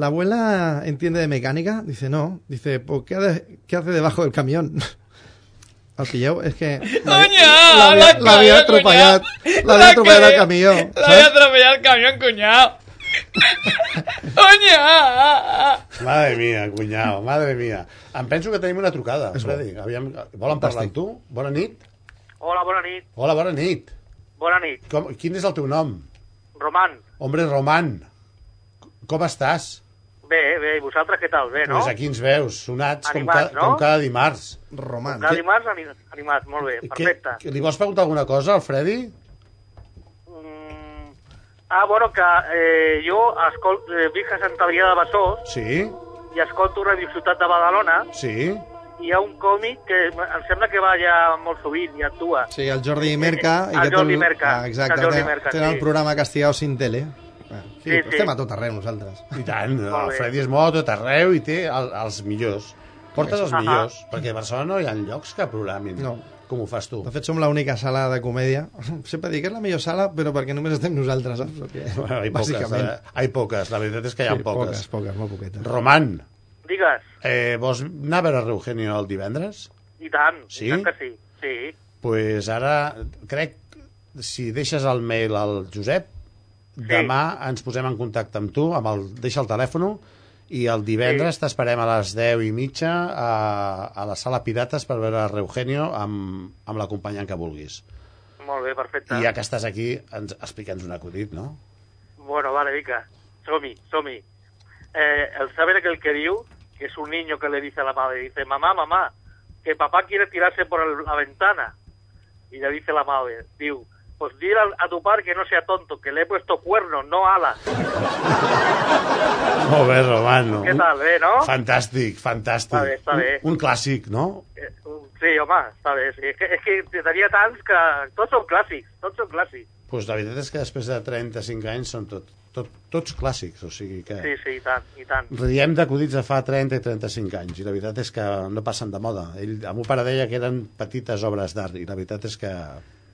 Speaker 10: la abuela entiende de mecánica. Dice, no. Dice, ¿por qué, hace- qué hace debajo del camión? *laughs* El pilleu, és que...
Speaker 9: ¡Cuñado!
Speaker 10: l'havia- L'havia atropellat. L'havia atropellat el camió.
Speaker 9: La voy a atropellar el camión, *laughs* cuñado. ¡Cuñado!
Speaker 3: Madre mía, cunyau, madre mía. Em penso que tenim una trucada, Freddy. Aviam, volen parlar amb tu? Bona nit.
Speaker 12: Hola, bona nit.
Speaker 3: Hola, bona nit.
Speaker 12: Bona nit.
Speaker 3: Com, quin és el teu nom?
Speaker 12: Roman,
Speaker 3: Hombre Roman. Com estàs?
Speaker 12: bé, bé, i vosaltres què tal? Bé, no?
Speaker 3: Pues aquí ens veus, sonats
Speaker 12: Animats,
Speaker 3: com, ca,
Speaker 12: no?
Speaker 3: com cada dimarts. Roman.
Speaker 12: Cada dimarts ani- animats, molt bé, perfecte.
Speaker 3: Que, li vols preguntar alguna cosa al Freddy?
Speaker 12: Ah, bueno, que eh, jo escol... eh, visc a Sant Adrià de Besòs
Speaker 3: Sí,
Speaker 12: i escolto Radio Ciutat de Badalona
Speaker 3: sí.
Speaker 12: i hi ha un còmic que em sembla que va ja molt sovint i actua.
Speaker 10: Sí, el Jordi Merca.
Speaker 12: El
Speaker 10: aquest
Speaker 12: Jordi Merca,
Speaker 10: Ah, exacte,
Speaker 12: el Jordi
Speaker 10: tenen-
Speaker 12: Merca,
Speaker 10: tenen
Speaker 12: sí.
Speaker 10: el programa Castigados sin tele. Ah, sí,
Speaker 12: Sí,
Speaker 10: però
Speaker 12: sí.
Speaker 10: Estem a tot arreu, nosaltres.
Speaker 3: I tant, el
Speaker 10: bé.
Speaker 3: Freddy és molt a tot arreu i té el, els millors. Portes els
Speaker 10: Ahà.
Speaker 3: millors, perquè a Barcelona no hi ha llocs que programin.
Speaker 10: No.
Speaker 3: Com ho fas tu?
Speaker 10: De fet, som l'única sala de comèdia. *laughs* Sempre dic que és la millor sala, però perquè només estem nosaltres, saps? Perquè,
Speaker 3: Bueno, hi poques,
Speaker 10: bàsicament.
Speaker 3: eh? Hi poques, la veritat és que hi ha
Speaker 10: Sí,
Speaker 3: poques.
Speaker 10: poques, poques, molt poquetes.
Speaker 3: Roman,
Speaker 12: Digues,
Speaker 3: eh, vols anar a veure Eugenio el divendres?
Speaker 12: i tant,
Speaker 3: Sí?
Speaker 12: i tant que sí. Sí,
Speaker 3: pues ara crec si deixes el mail al Josep demà ens posem en contacte amb tu amb el, deixa el telèfon i el divendres t'esperem a les 10 i mitja a, a la sala Pirates per veure a Eugenio amb, amb l'acompanyant que vulguis
Speaker 12: molt bé, perfecte.
Speaker 3: i ja que estàs aquí ens, explica'ns un acudit no?
Speaker 12: Bueno, vale, Vika. Somi, Somi. Eh, el saber aquel que diu, que es un niño que le dice a la madre, dice, mamá, mamá, que papá quiere tirarse por el- la ventana. Y le dice la madre, diu, pues dile al- a, tu par que no sea tonto, que le he puesto cuernos, no alas. *laughs*
Speaker 3: molt bé Roman no?
Speaker 12: Què tal, bé, no?
Speaker 3: fantàstic, fantàstic
Speaker 12: Està bé, està bé.
Speaker 3: Un, un clàssic, no?
Speaker 12: Eh, sí, home, està bé, sí. És que, és que tenia tants que tots són clàssics, tots són clàssics.
Speaker 3: Pues la veritat és que després de 35 anys són tot, tot, tots clàssics, o sigui que...
Speaker 12: Sí, sí, i tant, i tant.
Speaker 3: Riem d'acudits de fa 30 i 35 anys i la veritat és que no passen de moda. Ell, el meu pare deia que eren petites obres d'art i la veritat és que,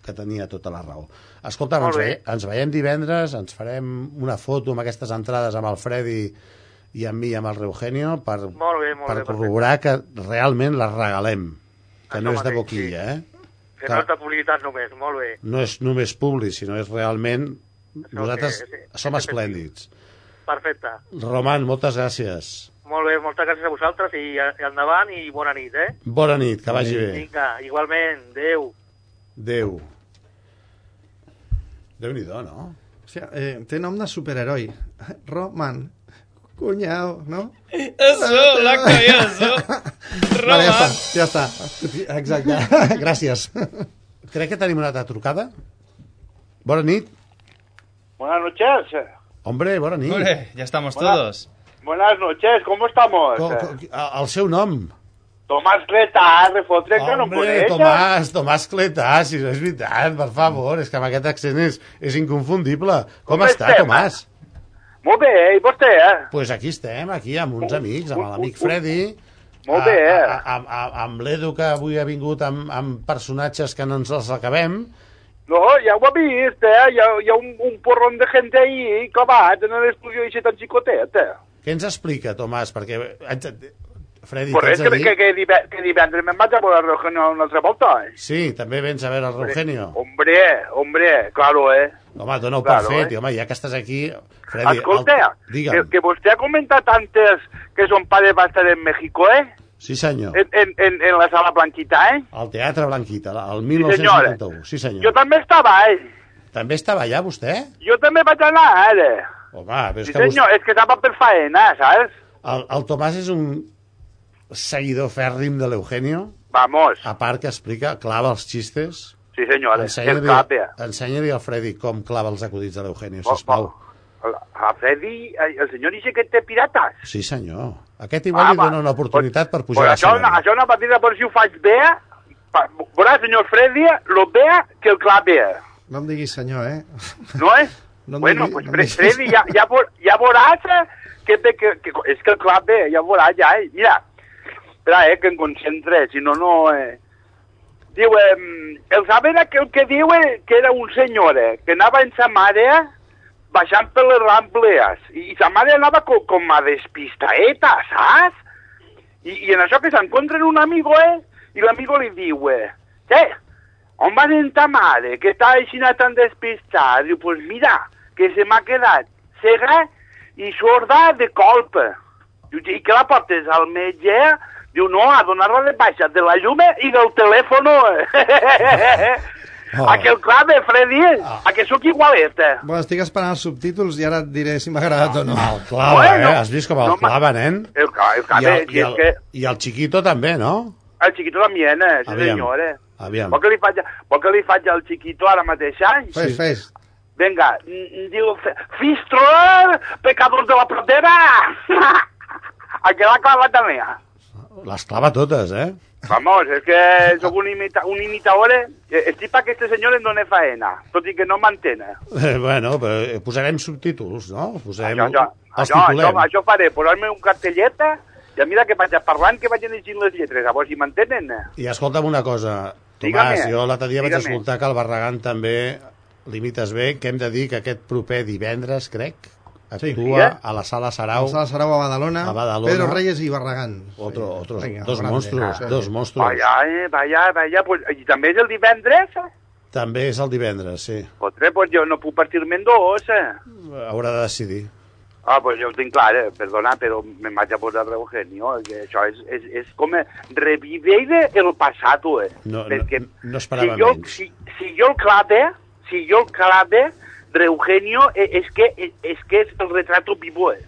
Speaker 3: que tenia tota la raó. Escolta,
Speaker 12: Molt
Speaker 3: ens,
Speaker 12: bé.
Speaker 3: veie, ens veiem divendres, ens farem una foto amb aquestes entrades amb el Freddy i amb mi i amb el Eugenio per,
Speaker 12: Molt bé, molt
Speaker 3: per
Speaker 12: bé,
Speaker 3: corroborar que realment les regalem, que no és de
Speaker 12: mateix,
Speaker 3: boquilla, eh?
Speaker 12: Que no és de publicitat només, molt bé.
Speaker 3: No és només públic, sinó és realment... Nosaltres
Speaker 12: que- sí,
Speaker 3: som
Speaker 12: és efectiu.
Speaker 3: esplèndids.
Speaker 12: Perfecte.
Speaker 3: Roman, moltes gràcies.
Speaker 12: Molt bé, moltes gràcies a vosaltres i, i endavant i bona nit, eh?
Speaker 3: Bona nit, que vagi bé.
Speaker 12: Vinga, igualment, adeu.
Speaker 3: Déu. déu nhi no?
Speaker 10: Hòstia, eh, té nom de superheroi. Roman. cuñado, ¿no?
Speaker 9: Eso, la eso.
Speaker 10: Vale, ja està, ja està.
Speaker 3: *laughs*
Speaker 10: Exacte, gràcies.
Speaker 3: Crec que tenim una altra trucada. Bona nit.
Speaker 13: Buenas noches.
Speaker 3: Hombre, bona nit.
Speaker 9: Hombre, ya estamos
Speaker 13: Hola.
Speaker 9: todos.
Speaker 13: Buenas noches, ¿cómo estamos?
Speaker 3: Co, co, a- el seu nom.
Speaker 13: Tomás Cleta, refotre que no em
Speaker 3: Hombre,
Speaker 13: coneix.
Speaker 3: Tomàs, Tomàs Cletà, si és veritat, per favor, és que amb aquest accent és, és inconfundible. Com,
Speaker 13: Com
Speaker 3: està,
Speaker 13: estem?
Speaker 3: Tomàs?
Speaker 13: Molt bé, i vostè, eh?
Speaker 3: Doncs pues aquí estem, aquí, amb uns amics, amb l'amic Freddy,
Speaker 13: Molt bé, eh?
Speaker 3: a- a- amb, amb, amb l'Edu, que avui ha vingut amb, amb personatges que no ens els acabem.
Speaker 13: No, ja ho ha vist, eh? Hi ha, hi ha un, un porron de gent ahí acabat en l'estudio i tan xicotet, eh?
Speaker 3: Què ens explica, Tomàs? Perquè, haig de- Freddy,
Speaker 13: Por
Speaker 3: t'haig
Speaker 13: és
Speaker 3: de
Speaker 13: que,
Speaker 3: dir...
Speaker 13: que, que, dive- que divendres me'n vaig a veure el Rogenio una altra volta, eh?
Speaker 3: Sí, també vens a veure el Eugenio.
Speaker 13: Hombre, hombre, claro, eh?
Speaker 3: Home, dona-ho
Speaker 13: Claro,
Speaker 3: per fet,
Speaker 13: eh?
Speaker 3: i home, ja que estàs aquí... Freddy,
Speaker 13: Escolta,
Speaker 3: el-
Speaker 13: que,
Speaker 3: Digue'm.
Speaker 13: que vostè ha comentat antes que son padre va estar en México, eh?
Speaker 3: Sí, senyor.
Speaker 13: En, en, en, en la sala blanquita, eh?
Speaker 3: Al Teatre Blanquita, la- el
Speaker 13: senyora.
Speaker 3: 1971. Sí,
Speaker 13: Jo
Speaker 3: senyor.
Speaker 13: també estava, eh?
Speaker 3: També estava allà, vostè?
Speaker 13: Jo també vaig anar, ara.
Speaker 3: Home, Oh, però és
Speaker 13: Sí,
Speaker 3: que vostè...
Speaker 13: senyor, és que estava per faena, saps?
Speaker 3: El, el Tomàs és un seguidor fèrrim de l'Eugenio.
Speaker 13: Vamos.
Speaker 3: A part que explica, clava els xistes.
Speaker 13: Sí, senyora, el
Speaker 3: Ensenya-li
Speaker 13: cap, eh?
Speaker 3: ensenya al Freddy com clava els acudits de l'Eugenio,
Speaker 13: Oh,
Speaker 3: sisplau.
Speaker 13: A Freddy, eh, el senyor dice que té pirates.
Speaker 3: Sí, senyor. Aquest igual li
Speaker 13: Home,
Speaker 3: dona una oportunitat per
Speaker 13: Pues
Speaker 3: pujar a
Speaker 13: Ah, això,
Speaker 3: l'escenari.
Speaker 13: això una partida per si ho faig bé, eh? pa- veurà, senyor Freddy, lo bé que el clar bé.
Speaker 10: No em diguis senyor, eh?
Speaker 13: No és?
Speaker 10: No em
Speaker 13: bueno,
Speaker 10: digui-
Speaker 13: pues
Speaker 10: no em
Speaker 13: Fre-
Speaker 10: digui-
Speaker 13: Freddy, ja, ja, vor, ja veuràs eh, que, que, que, que, és que el clar bé, ja veuràs ja, eh? Mira, espera, eh, que em concentre, si no, no... Eh. Diu, eh, el saben aquell que diu eh, que era un senyor, eh, que anava amb sa mare eh, baixant per les Ramblees, i, i sa mare anava com, com a despistaeta, saps? I, I en això que s'encontren un amigo, eh? I l'amigo li diu, eh? Eh, on vas en ta mare, que està així tan despistada? Diu, pues mira, que se m'ha quedat cega i sorda de colp. Diu, i que la portes al metge? Diu, no, a donar-la de baixa de la llum i del
Speaker 3: *laughs*
Speaker 13: telèfon.
Speaker 10: Oh.
Speaker 13: oh. Aquel clave, Freddy,
Speaker 3: Ah.
Speaker 13: oh. a que sóc igualet. eh?
Speaker 10: Bueno, estic esperant els subtítols i ara et diré si m'ha agradat o no.
Speaker 3: El clava,
Speaker 13: Bueno,
Speaker 3: eh? Has vist com el
Speaker 13: no, ma-
Speaker 3: clava, nen?
Speaker 13: El, ca- el
Speaker 3: I
Speaker 13: clave,
Speaker 3: el,
Speaker 13: si
Speaker 3: i,
Speaker 13: és
Speaker 3: el,
Speaker 13: que
Speaker 3: I el Chiquito també, no?
Speaker 13: el xiquito també, eh? Sí,
Speaker 3: Aviam.
Speaker 13: senyor, eh?
Speaker 3: Aviam.
Speaker 13: Vol que li faig, vol que li faig al xiquito ara mateix, eh?
Speaker 10: Fes, fes.
Speaker 13: Venga, mm, diu, fe- Fistro, pecador de la *laughs* pradera. Aquella la clava també.
Speaker 3: Les clava totes, eh?
Speaker 13: Vamos, és que sóc un, imita un imitador, eh? Estic pa que este senyor em dona faena, tot i que no m'entena.
Speaker 3: Eh, *laughs* bueno, però posarem subtítols, no? Posarem...
Speaker 13: Això, això,
Speaker 3: els
Speaker 13: això, això,
Speaker 3: titulem.
Speaker 13: això faré, posar-me un cartellet eh? i mira que vaig parlant que vaig llegint les lletres, a veure si m'entenen.
Speaker 3: I escolta'm una cosa,
Speaker 13: Digue'm,
Speaker 3: Tomàs, jo l'altre dia vaig
Speaker 13: digue'm.
Speaker 3: escoltar que el Barragán també limites bé, que hem de dir que aquest proper divendres, crec, actua
Speaker 10: Sí.
Speaker 3: a la Sala Sarau.
Speaker 10: Au. Sala Sarau a Badalona,
Speaker 3: A Badalona.
Speaker 10: Pedro Reyes i Barragán.
Speaker 3: Otro, otros,
Speaker 10: Vinga,
Speaker 3: dos
Speaker 10: grande.
Speaker 3: monstruos,
Speaker 10: Ah, sí.
Speaker 3: dos monstruos.
Speaker 13: Vaja, eh, vaja, vaja, pues, i també és el divendres?
Speaker 3: També és el divendres, sí.
Speaker 13: Otre, pues jo no puc partir-me en dos, eh?
Speaker 3: Haurà de decidir.
Speaker 13: Ah, pues jo ho tinc clar, eh? perdona, però me'n vaig a posar Eugenio, eh, que això és, és, és com reviveire el passat, eh?
Speaker 3: No,
Speaker 13: Perquè
Speaker 3: no, no esperava
Speaker 13: si jo,
Speaker 3: menys.
Speaker 13: si, si jo el clave, si jo el clave, Eugenio eh, és que, eh, és que és el retrato vivo, eh?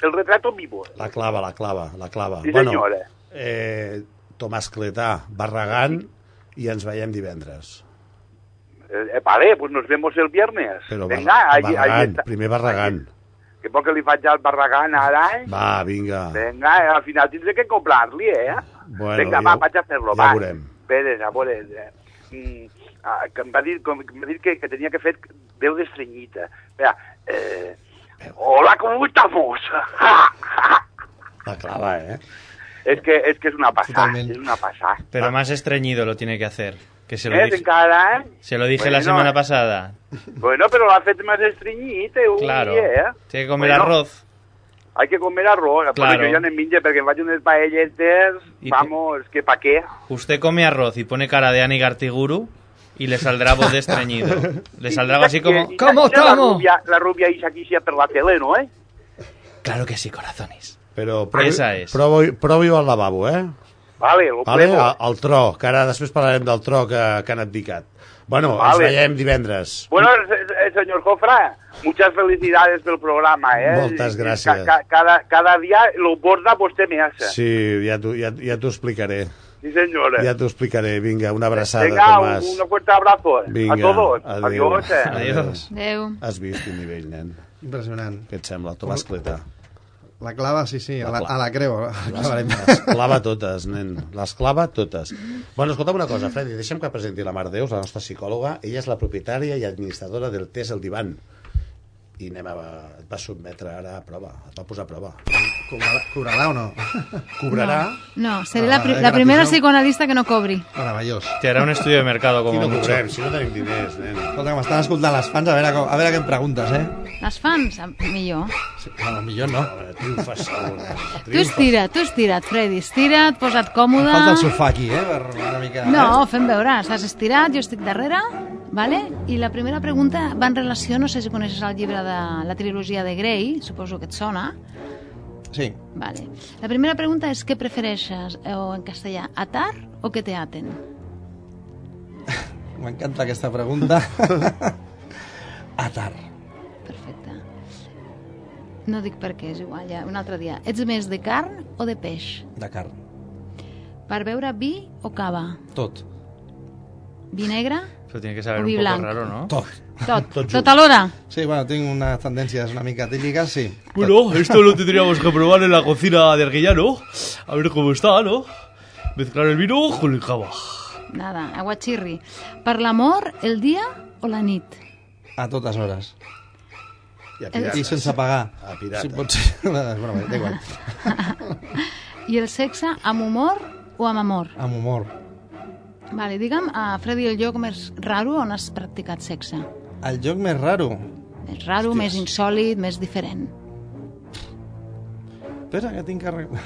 Speaker 13: El retrato vivo, eh?
Speaker 3: La clava, la clava, la clava.
Speaker 13: Sí,
Speaker 3: bueno,
Speaker 13: senyora.
Speaker 3: eh, Tomàs Cletà, Barragán, i ens veiem divendres.
Speaker 13: Eh, eh, vale, pues nos vemos el viernes.
Speaker 3: Però Bar-
Speaker 13: Vinga, allí, allí
Speaker 3: Barragán,
Speaker 13: està.
Speaker 3: primer Barragán.
Speaker 13: Que poc que li faig al Barragán ara, eh?
Speaker 3: Va, vinga.
Speaker 13: Vinga, eh, al final tindré que comprar-li, eh?
Speaker 3: Bueno,
Speaker 13: Vinga,
Speaker 3: ja
Speaker 13: va,
Speaker 3: ho-
Speaker 13: vaig a fer-lo,
Speaker 3: ja
Speaker 13: va.
Speaker 3: ho veurem.
Speaker 13: Veres, a veure... eh, Mm, ah, que em va dir, com, que em va dir que, que tenia que fer veu d'estrenyita. Mira, eh, hola, com estamos? *laughs*
Speaker 10: Ah,
Speaker 3: La clava, eh?
Speaker 13: és, que, és que és una passada,
Speaker 9: Totalment.
Speaker 13: és una passada.
Speaker 9: Pero
Speaker 10: Ah.
Speaker 9: más estreñido lo tiene que hacer. Que se lo
Speaker 13: Eh,
Speaker 9: dije,
Speaker 13: encara, eh?
Speaker 9: se lo dije
Speaker 13: Bueno,
Speaker 9: la semana pasada.
Speaker 13: Bueno, però l'ha fet més estrenyit, eh? ui,
Speaker 9: Claro.
Speaker 13: eh?
Speaker 9: Tiene que comer
Speaker 13: Bueno,
Speaker 9: arroz.
Speaker 13: Hay que comer arroz, claro.
Speaker 9: Claro.
Speaker 13: però jo ja n'en minge perquè em faig unes paelletes,
Speaker 9: I-
Speaker 13: vamos, que pa què?
Speaker 9: Usted come arroz y pone cara de Ani Gartiguru y le saldrá voz de
Speaker 13: *laughs*
Speaker 9: estreñido. Le saldrá algo así como...
Speaker 13: I- i- i La rubia, la rubia ixa que ixia per la tele, no, eh?
Speaker 9: Claro que sí, corazones.
Speaker 3: Però provi,
Speaker 9: Esa és.
Speaker 3: Provi, provi-ho al lavabo, eh?
Speaker 13: Vale, lo
Speaker 3: Vale?
Speaker 13: pruebo.
Speaker 3: El, el tro, que ara després parlarem del tro que, que han abdicat. Bueno,
Speaker 13: Vale.
Speaker 3: ens veiem divendres.
Speaker 13: Bueno, se- se- señor Jofra, muchas felicidades del programa, ¿eh?
Speaker 3: Moltes
Speaker 13: Ca-
Speaker 3: gràcies.
Speaker 13: ca- cada, cada día lo borda usted me hace.
Speaker 3: Sí, ja t'ho ja, ja t'ho explicaré.
Speaker 13: Sí, señora.
Speaker 3: Ja t'ho explicaré. Vinga, una abraçada,
Speaker 13: Venga, un,
Speaker 3: Tomàs.
Speaker 13: un fuerte abrazo eh.
Speaker 3: Vinga,
Speaker 13: a todos.
Speaker 3: adéu.
Speaker 13: Adiós. eh.
Speaker 8: Adéu.
Speaker 3: Has vist quin nivell, nen?
Speaker 10: Impressionant.
Speaker 3: Què et sembla, Tomàs Cleta?
Speaker 10: La clava, sí, sí, a la,
Speaker 3: clava.
Speaker 10: a la creu. a *laughs* la
Speaker 3: Les,
Speaker 10: clavarem.
Speaker 3: les clava totes, nen. Les clava totes. Bueno, escolta'm una cosa, Freddy, deixa'm que presenti la Mar Déus, la nostra psicòloga. Ella és la propietària i administradora del test El Divan. I anem a... et va sotmetre ara a prova, et va posar a prova.
Speaker 10: Cobrarà, cobrarà o no?
Speaker 3: Cobrarà...
Speaker 8: No, seré
Speaker 10: Ah,
Speaker 8: la, pri-
Speaker 10: eh,
Speaker 8: la primera
Speaker 10: gratis,
Speaker 8: psicoanalista que no cobri.
Speaker 10: Meravellós.
Speaker 9: Te hará un estudio de mercado como
Speaker 3: Aquí no
Speaker 9: mucho.
Speaker 3: cobrem, si no tenim diners, nen.
Speaker 10: Escolta, que m'estan escoltant les fans, a veure, com, a veure què em preguntes, eh?
Speaker 8: Les fans, ah, millor.
Speaker 10: Sí, bueno, millor no.
Speaker 3: Triomfa segur.
Speaker 8: Tu estira't, tu estira't, Freddy, estira't, posa't còmode.
Speaker 10: Falta el sofà aquí, eh? Per una mica...
Speaker 3: eh?
Speaker 8: No, fem veure, s'has estirat, jo estic darrere, vale? i la primera pregunta va en relació, no sé si coneixes el llibre de la trilogia de Grey, suposo que et sona.
Speaker 10: Sí.
Speaker 8: Vale. La primera pregunta és què prefereixes, eh, o en castellà, atar o que te aten?
Speaker 10: M'encanta aquesta pregunta. *laughs* Atar.
Speaker 8: Perfecte. No dic per què, és igual, ja un altre dia. Ets més de carn o de peix?
Speaker 10: De carn.
Speaker 8: Per beure vi o cava?
Speaker 10: Tot.
Speaker 8: Vi negre?
Speaker 9: Eso tiene que saber
Speaker 8: O
Speaker 9: un
Speaker 8: vi
Speaker 9: poco
Speaker 8: blanc.
Speaker 9: raro, ¿no?
Speaker 10: Tot.
Speaker 8: Tot. Tota Tot alhora?
Speaker 10: Sí, bueno, tinc unes tendències una mica tíliques, sí.
Speaker 7: Bueno, esto lo tendríamos que probar en la cocina de Arguilla, ¿no? A ver cómo está, ¿no? Mezclar el vino con el cava.
Speaker 8: Nada, aguachirri. Per l'amor, el dia o la nit?
Speaker 10: A totes hores.
Speaker 3: I,
Speaker 8: a pirates.
Speaker 10: I sense pagar.
Speaker 3: A pirata.
Speaker 10: Sí, pot ser. *laughs* Bueno, bé, da igual.
Speaker 8: I el sexe amb humor o amb amor?
Speaker 10: Amb humor.
Speaker 8: Vale, digue'm, a Freddy, el lloc més raro on has practicat sexe?
Speaker 10: El joc més raro.
Speaker 8: Més raro, més insòlid, més diferent.
Speaker 10: Espera, que tinc que arreglar.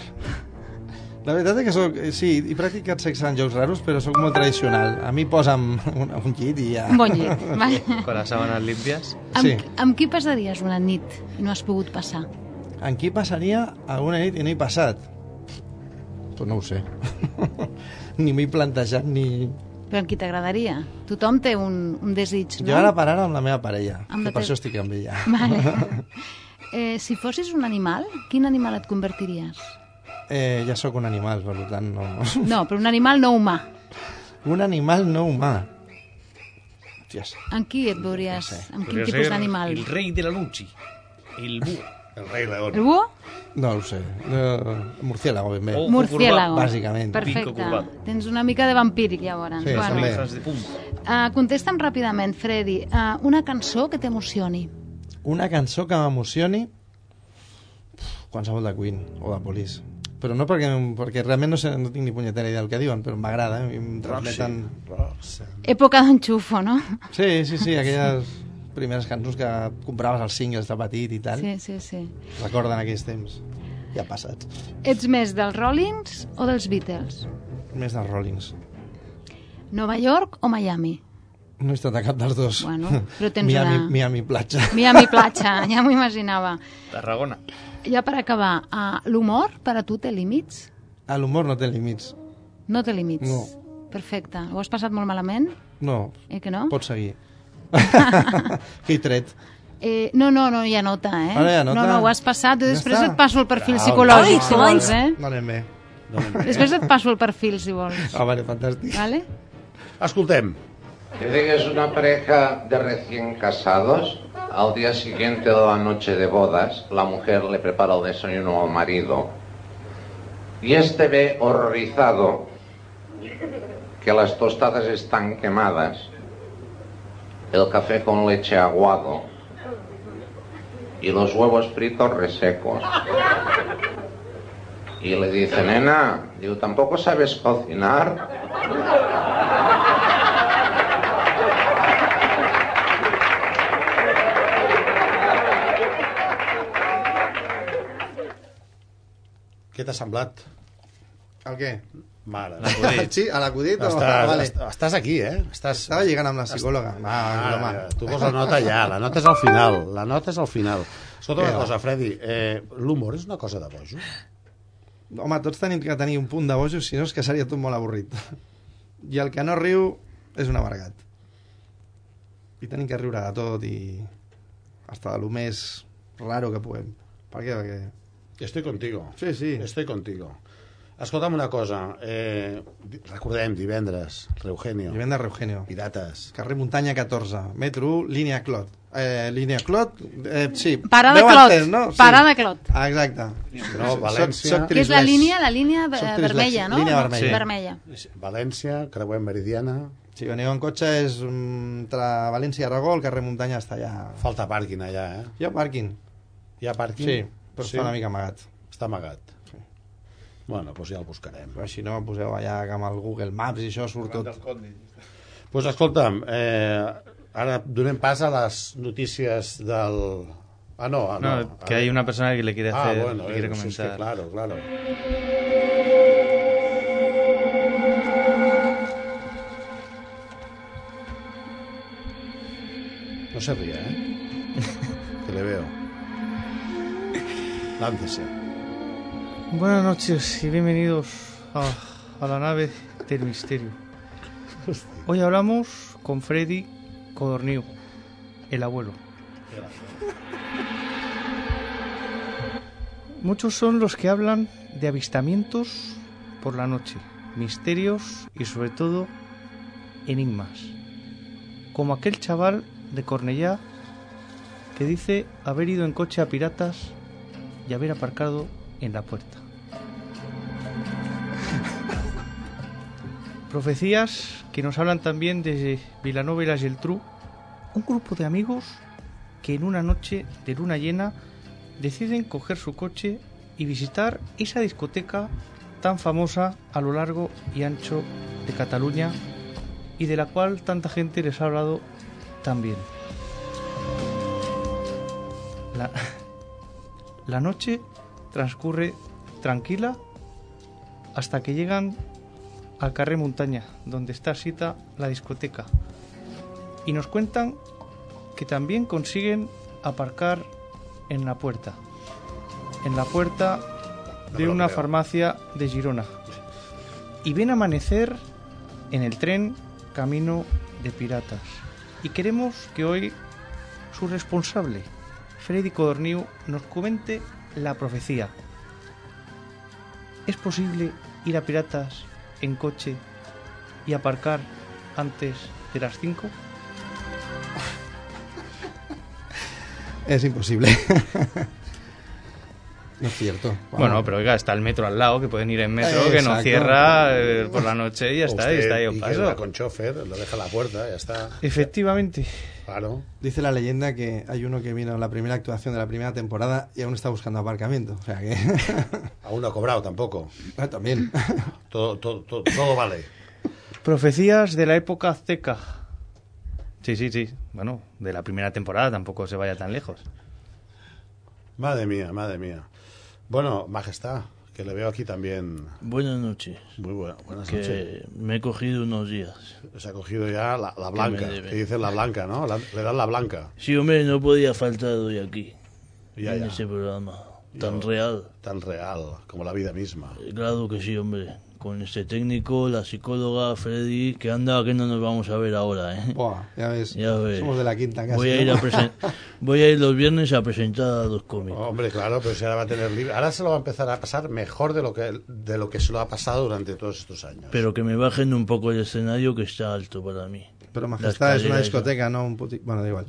Speaker 10: La veritat és que soc, eh, sí, he practicat sexe en jocs raros, però sóc molt tradicional. A mi posa'm *laughs* un, un llit i ja...
Speaker 8: Un bon llit,
Speaker 10: *laughs*
Speaker 8: vale.
Speaker 9: Con las sábanas limpias.
Speaker 8: Amb,
Speaker 10: Sí.
Speaker 8: amb qui passaries una nit i no has pogut passar?
Speaker 10: En qui passaria alguna nit i no he passat? Pues no ho sé. *laughs* ni m'he plantejat ni...
Speaker 8: Però amb qui t'agradaria? Tothom té un, un desig, no?
Speaker 10: Jo ara per ara amb la meva parella,
Speaker 8: Amb la
Speaker 10: amb que per
Speaker 8: teva-
Speaker 10: això estic amb ella.
Speaker 8: Vale. Eh, si fossis un animal, quin animal et convertiries?
Speaker 10: *laughs* Eh, ja sóc un animal, per tant, no...
Speaker 8: No, però un animal no humà.
Speaker 10: *laughs* un animal no humà. Hòsties.
Speaker 8: En qui et veuries? Amb quin
Speaker 10: Podria
Speaker 8: tipus
Speaker 10: ser
Speaker 8: d'animal?
Speaker 10: el
Speaker 7: rei de la luchi. El búho.
Speaker 3: El rei león.
Speaker 8: El búho?
Speaker 10: No ho sé. Eh, murciélago, ben bé.
Speaker 8: Murciélago.
Speaker 10: Bàsicament.
Speaker 8: Perfecte. Tens una mica de vampíric, llavors.
Speaker 10: Sí, també.
Speaker 8: Uh, contesta'm ràpidament, Freddy. Uh, una cançó que t'emocioni.
Speaker 10: Una cançó que m'emocioni... Pff, Qualsevol de Queen o de Police. Però no perquè, perquè realment no, sé, no tinc ni punyetera idea del que diuen, però m'agrada. eh, Em transmeten...
Speaker 8: Època d'enxufo, no?
Speaker 10: Sí, sí, sí, aquelles primeres cançons que compraves els singles de petit i tal.
Speaker 8: Sí, sí, sí.
Speaker 10: Recorden aquells temps ja passats.
Speaker 8: Ets més dels Rollins o dels Beatles?
Speaker 10: Més dels Rollings.
Speaker 8: Nova York o Miami?
Speaker 10: No he estat a cap dels dos.
Speaker 8: Bueno, però tens
Speaker 10: Miami,
Speaker 8: una-
Speaker 10: Miami platja.
Speaker 8: Miami platja, *laughs* ja m'ho imaginava.
Speaker 9: Tarragona.
Speaker 8: Ja per acabar, uh, l'humor per a tu té límits?
Speaker 10: A Ah, l'humor no té límits.
Speaker 8: No té límits.
Speaker 10: No.
Speaker 8: Perfecte. Ho has passat molt malament?
Speaker 10: No.
Speaker 8: Eh que no? *laughs*
Speaker 10: Pots seguir. que he tret.
Speaker 8: Eh, no, no, no, ja nota, eh?
Speaker 10: Ara ja nota?
Speaker 8: No, no, ho has passat.
Speaker 10: Ja
Speaker 8: Després
Speaker 10: està?
Speaker 8: et passo el
Speaker 3: Ah,
Speaker 8: perfil
Speaker 10: Bravo.
Speaker 8: psicològic, si
Speaker 10: Ai,
Speaker 8: vols, eh?
Speaker 10: No anem bé.
Speaker 8: Després et passo el perfil, si vols.
Speaker 10: Ah, vale, fantàstic.
Speaker 8: Vale?
Speaker 3: Escoltem.
Speaker 14: Dice que es una pareja de recién casados. Al día siguiente de la noche de bodas, la mujer le prepara el desayuno al marido. Y este ve horrorizado que las tostadas están quemadas, el café con leche aguado y los huevos fritos resecos. Y le dice, nena, digo, ¿tampoco sabes cocinar?
Speaker 3: Què t'ha semblat?
Speaker 10: El què?
Speaker 3: Mare.
Speaker 10: L'acudit. Sí, a l'acudit o-
Speaker 3: Estàs,
Speaker 10: vale.
Speaker 3: est- estàs aquí, eh? Estàs...
Speaker 10: Estava lligant amb la psicòloga. Va,
Speaker 3: Mare,
Speaker 10: home.
Speaker 3: tu vols la nota ja, la nota és al final. La nota és al final. Escolta
Speaker 10: Eh,
Speaker 3: una
Speaker 10: va.
Speaker 3: cosa, Freddy, eh, l'humor és una cosa de bojo?
Speaker 10: Home, tots tenim que tenir un punt de bojos, si no és que seria tot molt avorrit. I el que no riu és un amargat. I tenim que riure de tot i... Hasta de lo més raro que puguem. Per què? Perquè...
Speaker 3: Estoy contigo.
Speaker 10: Sí, sí.
Speaker 3: Estoy contigo. Escolta'm una cosa, eh, di- recordem, divendres, Reugenio.
Speaker 10: Divendres Reugenio.
Speaker 3: Pirates.
Speaker 10: Carrer Muntanya 14, metro, línia Clot. Eh, línia Clot, eh, sí.
Speaker 8: Parada
Speaker 10: Deu
Speaker 8: Clot,
Speaker 10: entès, no?
Speaker 8: parada Clot.
Speaker 10: Ah, Exacte.
Speaker 3: No,
Speaker 10: Soc-
Speaker 3: València.
Speaker 10: soc
Speaker 8: Que és la
Speaker 10: trislès.
Speaker 8: línia, la línia eh,
Speaker 10: Soc trislèxic.
Speaker 8: vermella, no?
Speaker 10: Línia vermella. Sí.
Speaker 8: vermella.
Speaker 3: València, Creuem Meridiana...
Speaker 10: Si veniu en cotxe és mm, entre València i Aragó, el carrer Muntanya està allà.
Speaker 3: Falta pàrquing allà, eh?
Speaker 10: Hi ha pàrquing.
Speaker 3: Hi ha pàrquing?
Speaker 10: Sí, però
Speaker 3: Sí?
Speaker 10: està una mica amagat.
Speaker 3: Està amagat. Bueno, doncs ja el buscarem.
Speaker 10: Però si no, poseu allà que amb el Google Maps i això surt tot.
Speaker 3: Doncs pues escolta'm, eh, ara donem pas a les notícies del... Ah, no, ah, no.
Speaker 9: No, que hay una persona que le quiere
Speaker 3: Ah,
Speaker 9: hacer-
Speaker 3: bueno,
Speaker 9: le quiere
Speaker 3: eh, sí, es que
Speaker 9: comentar.
Speaker 3: claro, claro. No se ría, ¿eh? *laughs* que le veo. Láncese.
Speaker 9: Buenas noches y bienvenidos a, a la nave del
Speaker 3: *laughs*
Speaker 9: misterio. Hoy hablamos con Freddy Codornío, el abuelo. Muchos son los que hablan de avistamientos por la noche, misterios y sobre todo enigmas. Como aquel chaval de Cornellá que dice haber ido en coche a piratas y haber aparcado en la puerta. *laughs* Profecías que nos hablan también de Vilanova y la Geltrú, un grupo de amigos que en una noche de luna llena deciden coger su coche y visitar esa discoteca tan famosa a lo largo y ancho de Cataluña y de la cual tanta gente les ha hablado también. La, *laughs* la noche transcurre tranquila hasta que llegan al Carré Montaña, donde está cita la discoteca. Y nos cuentan que también consiguen aparcar en la puerta. En la puerta de
Speaker 15: me lo
Speaker 9: una
Speaker 15: creo.
Speaker 9: farmacia de Girona. Y ven amanecer en el tren camino de piratas. Y queremos que hoy su responsable, Freddy Codorniu, nos comente la profecía. ¿Es posible ir a piratas en coche y aparcar antes de las 5?
Speaker 10: És impossible. *laughs* no és cierto.
Speaker 9: Bueno, pero oiga, está el metro al lado, que pueden ir en metro,
Speaker 10: Eh,
Speaker 9: que no
Speaker 10: exacto.
Speaker 9: cierra eh, por la noche y ya está, y
Speaker 3: Usted,
Speaker 9: está ahí
Speaker 3: y
Speaker 9: un
Speaker 3: que
Speaker 9: paso.
Speaker 3: va con chofer, lo deja a la puerta, ya está.
Speaker 9: Efectivamente.
Speaker 3: Claro.
Speaker 10: Dice la leyenda que hay uno que vino a la primera actuación de la primera temporada y aún está buscando aparcamiento. O sea que... *laughs*
Speaker 3: Aún no ha cobrado tampoco.
Speaker 10: Ah,
Speaker 3: *laughs*
Speaker 10: también.
Speaker 3: Todo, todo, todo, todo vale.
Speaker 9: Profecías de la época azteca. Sí, sí, sí. Bueno, de la primera temporada tampoco se vaya tan lejos.
Speaker 3: Madre mía, madre mía. Bueno, majestad, que le veo aquí también.
Speaker 16: Buenas noches.
Speaker 3: Muy buena, buenas
Speaker 16: que
Speaker 3: noches.
Speaker 16: Me he cogido unos días.
Speaker 3: Se ha cogido ya la, la
Speaker 16: Que
Speaker 3: blanca,
Speaker 16: me debe.
Speaker 3: que dicen la blanca, ¿no? La- le dan la blanca.
Speaker 16: Sí, hombre, no podía faltar hoy aquí.
Speaker 3: Ya,
Speaker 16: en
Speaker 3: ya.
Speaker 16: ese programa. Tan
Speaker 3: Yo-
Speaker 16: real.
Speaker 3: Tan real, como la vida misma.
Speaker 16: Eh, Claro que sí, hombre. Con este técnico, la psicóloga, Freddy, que anda que no nos vamos a ver ahora, ¿eh?
Speaker 10: ya ves.
Speaker 16: Ya ves.
Speaker 10: Somos de la quinta casi.
Speaker 16: Voy a ir, a
Speaker 3: *laughs*
Speaker 16: presen- voy a ir los viernes a presentar a los cómicos.
Speaker 3: Hombre, claro, pero si ahora va a tener libre. Ahora se lo va a empezar a pasar mejor de lo que, de lo que se lo ha pasado durante todos estos años.
Speaker 16: Pero que me bajen un poco el escenario que está alto para mí.
Speaker 10: Pero
Speaker 16: La
Speaker 10: Majestad es una
Speaker 16: escalera esa.
Speaker 10: discoteca, no un puti...
Speaker 3: *laughs*
Speaker 10: Bueno, da igual.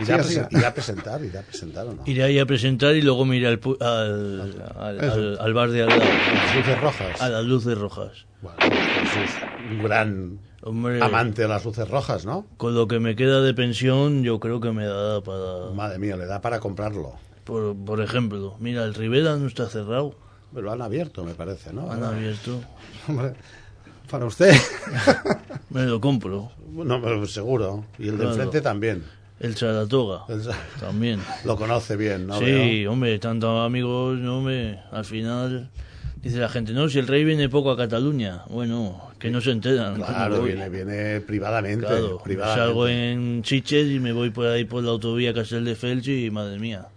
Speaker 3: Irá,
Speaker 10: Siga, siga.
Speaker 3: a presen- irá a presentar, irá a presentar o no.
Speaker 16: Iré ahí a presentar y luego me iré al, pu- al, al,
Speaker 3: Eso.
Speaker 16: al- al bar de al lado.
Speaker 3: las luces rojas. pues
Speaker 16: A las luces rojas.
Speaker 3: un gran
Speaker 16: Hombre,
Speaker 3: Amante de las luces rojas, ¿no?
Speaker 16: con lo que me queda de pensión, yo creo que me da para.
Speaker 3: Madre mía, le da para comprarlo.
Speaker 16: Por, por ejemplo, mira, el Rivera no está cerrado.
Speaker 3: Pero lo han abierto, me parece, ¿no?
Speaker 16: Han abierto.
Speaker 10: Hombre, para usted.
Speaker 16: Me lo compro.
Speaker 3: No, pero seguro. Y el de
Speaker 16: Claro.
Speaker 3: enfrente también.
Speaker 16: El Saratoga. También.
Speaker 3: Lo conoce bien, ¿no?
Speaker 16: sí,
Speaker 3: Veo.
Speaker 16: hombre, tantos amigos, no me. Al final. Dice la gente, no, si el rey viene poco a Cataluña. Bueno, que no se enteran.
Speaker 3: Claro,
Speaker 16: Voy.
Speaker 3: viene, viene privadamente.
Speaker 16: Claro,
Speaker 3: privadamente.
Speaker 16: salgo en Chiches y me voy por ahí por la autovía Castel de Felchi y madre mía.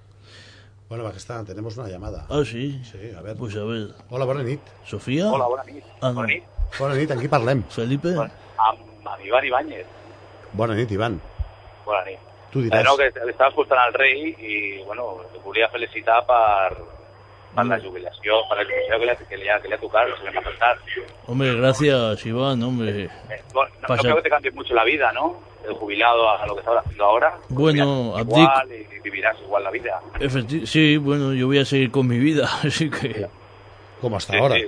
Speaker 3: Bueno, Pakistán, tenemos una llamada.
Speaker 16: Ah, sí?
Speaker 3: Sí, a ver.
Speaker 16: Pues a ver.
Speaker 3: Hola, bona nit.
Speaker 16: Sofia?
Speaker 17: Hola, bona nit.
Speaker 16: Ah, no.
Speaker 17: Bona nit.
Speaker 3: Bona nit, amb qui parlem?
Speaker 16: Felipe?
Speaker 17: Amb, amb Ivan Ibáñez.
Speaker 3: Bona nit, Ivan.
Speaker 17: Bona nit.
Speaker 3: Tu
Speaker 17: Eh,
Speaker 3: diràs.
Speaker 17: no, que estava escoltant el rei i, bueno, el volia felicitar per, per la jubilació, per la jubilació que li, ha- que li, ha, que li ha tocat, que se li ha presentat.
Speaker 16: Hombre, gracias, Iván, hombre.
Speaker 17: Eh, bueno, no, no
Speaker 16: Pasa.
Speaker 17: creo que te cambie mucho la vida, ¿no? El jubilado a lo que estás haciendo ahora.
Speaker 16: Bueno, Abdic,
Speaker 17: Igual, y vivirás igual la vida.
Speaker 16: efecti- sí, bueno, yo voy a seguir con mi vida, *laughs* así que...
Speaker 3: Como hasta
Speaker 17: Sí, ahora. sí.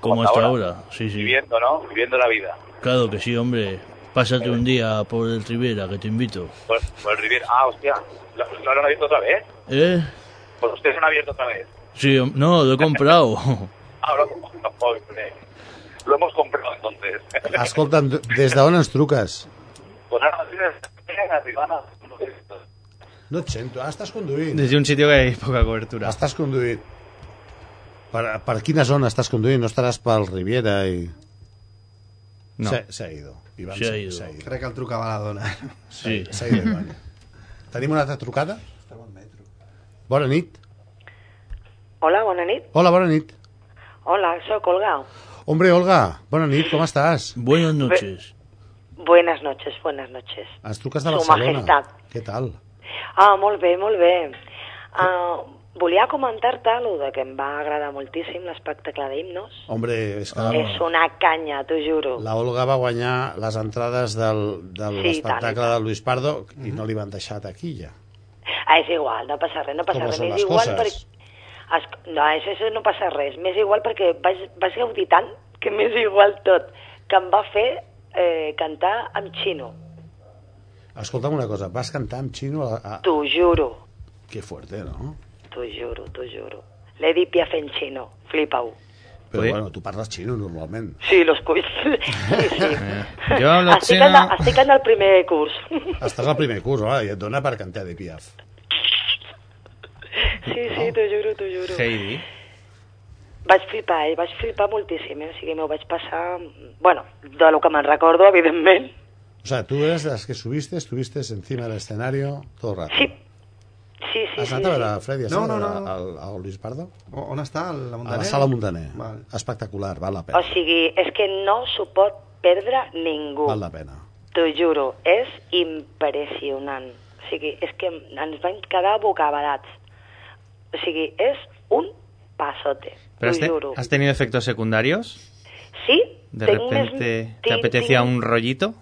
Speaker 16: Como hasta ahora, sí, sí.
Speaker 17: Viviendo, ¿no? Viviendo la vida.
Speaker 16: Claro que sí, hombre. Pásate un día por el Rivera, que te invito.
Speaker 17: Por, por el Riviera. Ah, hostia. ¿Lo, lo han abierto otra vez?
Speaker 16: ¿Eh?
Speaker 17: Pues ustedes han abierto otra vez.
Speaker 16: Sí, hom- no, lo he comprado.
Speaker 3: *laughs*
Speaker 17: Ah, lo, no, pobre. Lo hemos comprado entonces.
Speaker 3: Escolta'm, des d'on ens truques?
Speaker 17: Pues ahora tienes arribada.
Speaker 3: No et sento. Ah, estàs conduint.
Speaker 9: Desde un sitio que hay poca cobertura.
Speaker 3: Estàs conduint. Per, per quina zona estàs conduint? No estaràs pel Riviera i...
Speaker 10: No.
Speaker 3: Se, se ha ido. Ivan se, se ha ido.
Speaker 10: Crec que el trucava la dona.
Speaker 3: Sí. Se ha ido,
Speaker 9: *laughs*
Speaker 3: Ivan. Tenim una altra trucada? Bona nit.
Speaker 18: Hola, bona nit.
Speaker 3: Hola, bona nit.
Speaker 18: Hola, soy Colgao.
Speaker 3: Hombre, Olga, bona nit, com estàs?
Speaker 16: Buenas
Speaker 18: noches. Buenas noches, buenas noches.
Speaker 3: Ens truques de
Speaker 18: Su
Speaker 3: Barcelona.
Speaker 18: Majestat.
Speaker 3: Què tal?
Speaker 18: Ah, molt bé, molt bé. Ah, volia comentar-te lo de que em va agradar moltíssim l'espectacle d'himnos.
Speaker 3: Hombre, és que...
Speaker 18: És una canya, t'ho juro.
Speaker 3: La Olga va guanyar les entrades del, de
Speaker 18: Sí,
Speaker 3: l'espectacle
Speaker 18: tant.
Speaker 3: de Luis Pardo i no li van deixar taquilla.
Speaker 18: Ah, és igual, no passa res, no passa
Speaker 3: Com
Speaker 18: res.
Speaker 3: són
Speaker 18: M'és
Speaker 3: les
Speaker 18: igual
Speaker 3: coses.
Speaker 18: perquè... Es... No, això, això no passa res. M'és igual perquè vaig, vaig gaudir tant que m'és igual tot. Que em va fer eh, cantar amb xino.
Speaker 3: Escolta'm una cosa, vas cantar amb xino a... a...
Speaker 18: T'ho juro,
Speaker 3: Que fuerte, no?
Speaker 18: t'ho juro, t'ho juro. L'Edi Piaf en xino, flipa-ho.
Speaker 3: Però bueno, tu parles xino normalment.
Speaker 18: Sí, los cuis. Sí, sí.
Speaker 3: Eh, Jo hablo
Speaker 18: estic,
Speaker 3: xino.
Speaker 18: en, el- estic en el primer
Speaker 9: *laughs*
Speaker 18: curs.
Speaker 3: Estàs al primer curs, home, i et dona per cantar de Piaf.
Speaker 18: Sí, sí, t'ho juro, t'ho juro.
Speaker 9: Heidi.
Speaker 18: Vaig flipar, eh? vaig flipar moltíssim, eh? o sigui, m'ho vaig passar... Bueno, de lo que me'n recordo, evidentment.
Speaker 3: O sea, tú eres de las que subiste, estuviste encima del escenario todo el rato.
Speaker 18: Sí, sí, sí.
Speaker 3: Has
Speaker 18: sí,
Speaker 3: anat a veure
Speaker 18: sí.
Speaker 3: a Freddy, has
Speaker 10: No,
Speaker 3: anat a
Speaker 10: no,
Speaker 3: veure
Speaker 10: no.
Speaker 3: Al, al Luis Pardo?
Speaker 10: O, on està? A la
Speaker 3: A
Speaker 10: Muntaner?
Speaker 3: la sala Muntaner.
Speaker 10: Val.
Speaker 3: Espectacular, val la
Speaker 18: O
Speaker 3: pena.
Speaker 18: sigui, és que no s'ho pot perdre ningú,
Speaker 3: Val la pena.
Speaker 18: t'ho juro. És impressionant. O sigui, és que ens vam quedar bocabadats. O sigui, és un passote, t'ho
Speaker 9: Pero has, te-
Speaker 18: juro.
Speaker 9: ¿Has tenido efectos secundarios?
Speaker 18: Sí,
Speaker 9: ¿De
Speaker 18: tenc unes-
Speaker 9: repente te
Speaker 18: tinc-
Speaker 9: apetecía
Speaker 18: tinc-
Speaker 9: un rollito?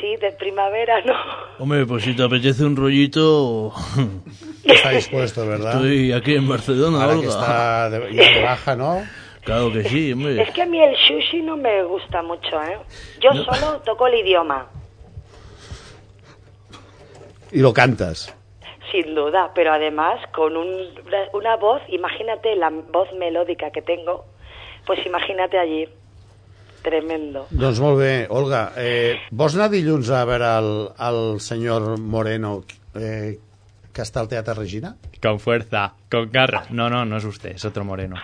Speaker 18: Sí, de primavera, *laughs* no.
Speaker 16: Hombre, pues si te apetece un rollito...
Speaker 3: *laughs* Está dispuesto, ¿verdad?
Speaker 16: Estoy aquí en Barcelona,
Speaker 3: Ahora
Speaker 16: Olga.
Speaker 3: que está de- ya de baja, ¿no?
Speaker 16: *laughs* Claro que sí, hombre.
Speaker 18: Es que a mí el sushi no me gusta mucho, ¿eh? Yo
Speaker 16: No.
Speaker 18: solo toco el idioma,
Speaker 3: Y lo cantas.
Speaker 18: sin duda, pero además con un- una voz, imagínate la voz melódica que tengo, pues imagínate allí. Tremendo. *laughs*
Speaker 3: Doncs molt bé, Olga. Eh, vols anar dilluns a veure el, el senyor Moreno eh, que està al Teatre Regina?
Speaker 9: Con fuerza, con garra. No, no, no es usted, es otro moreno.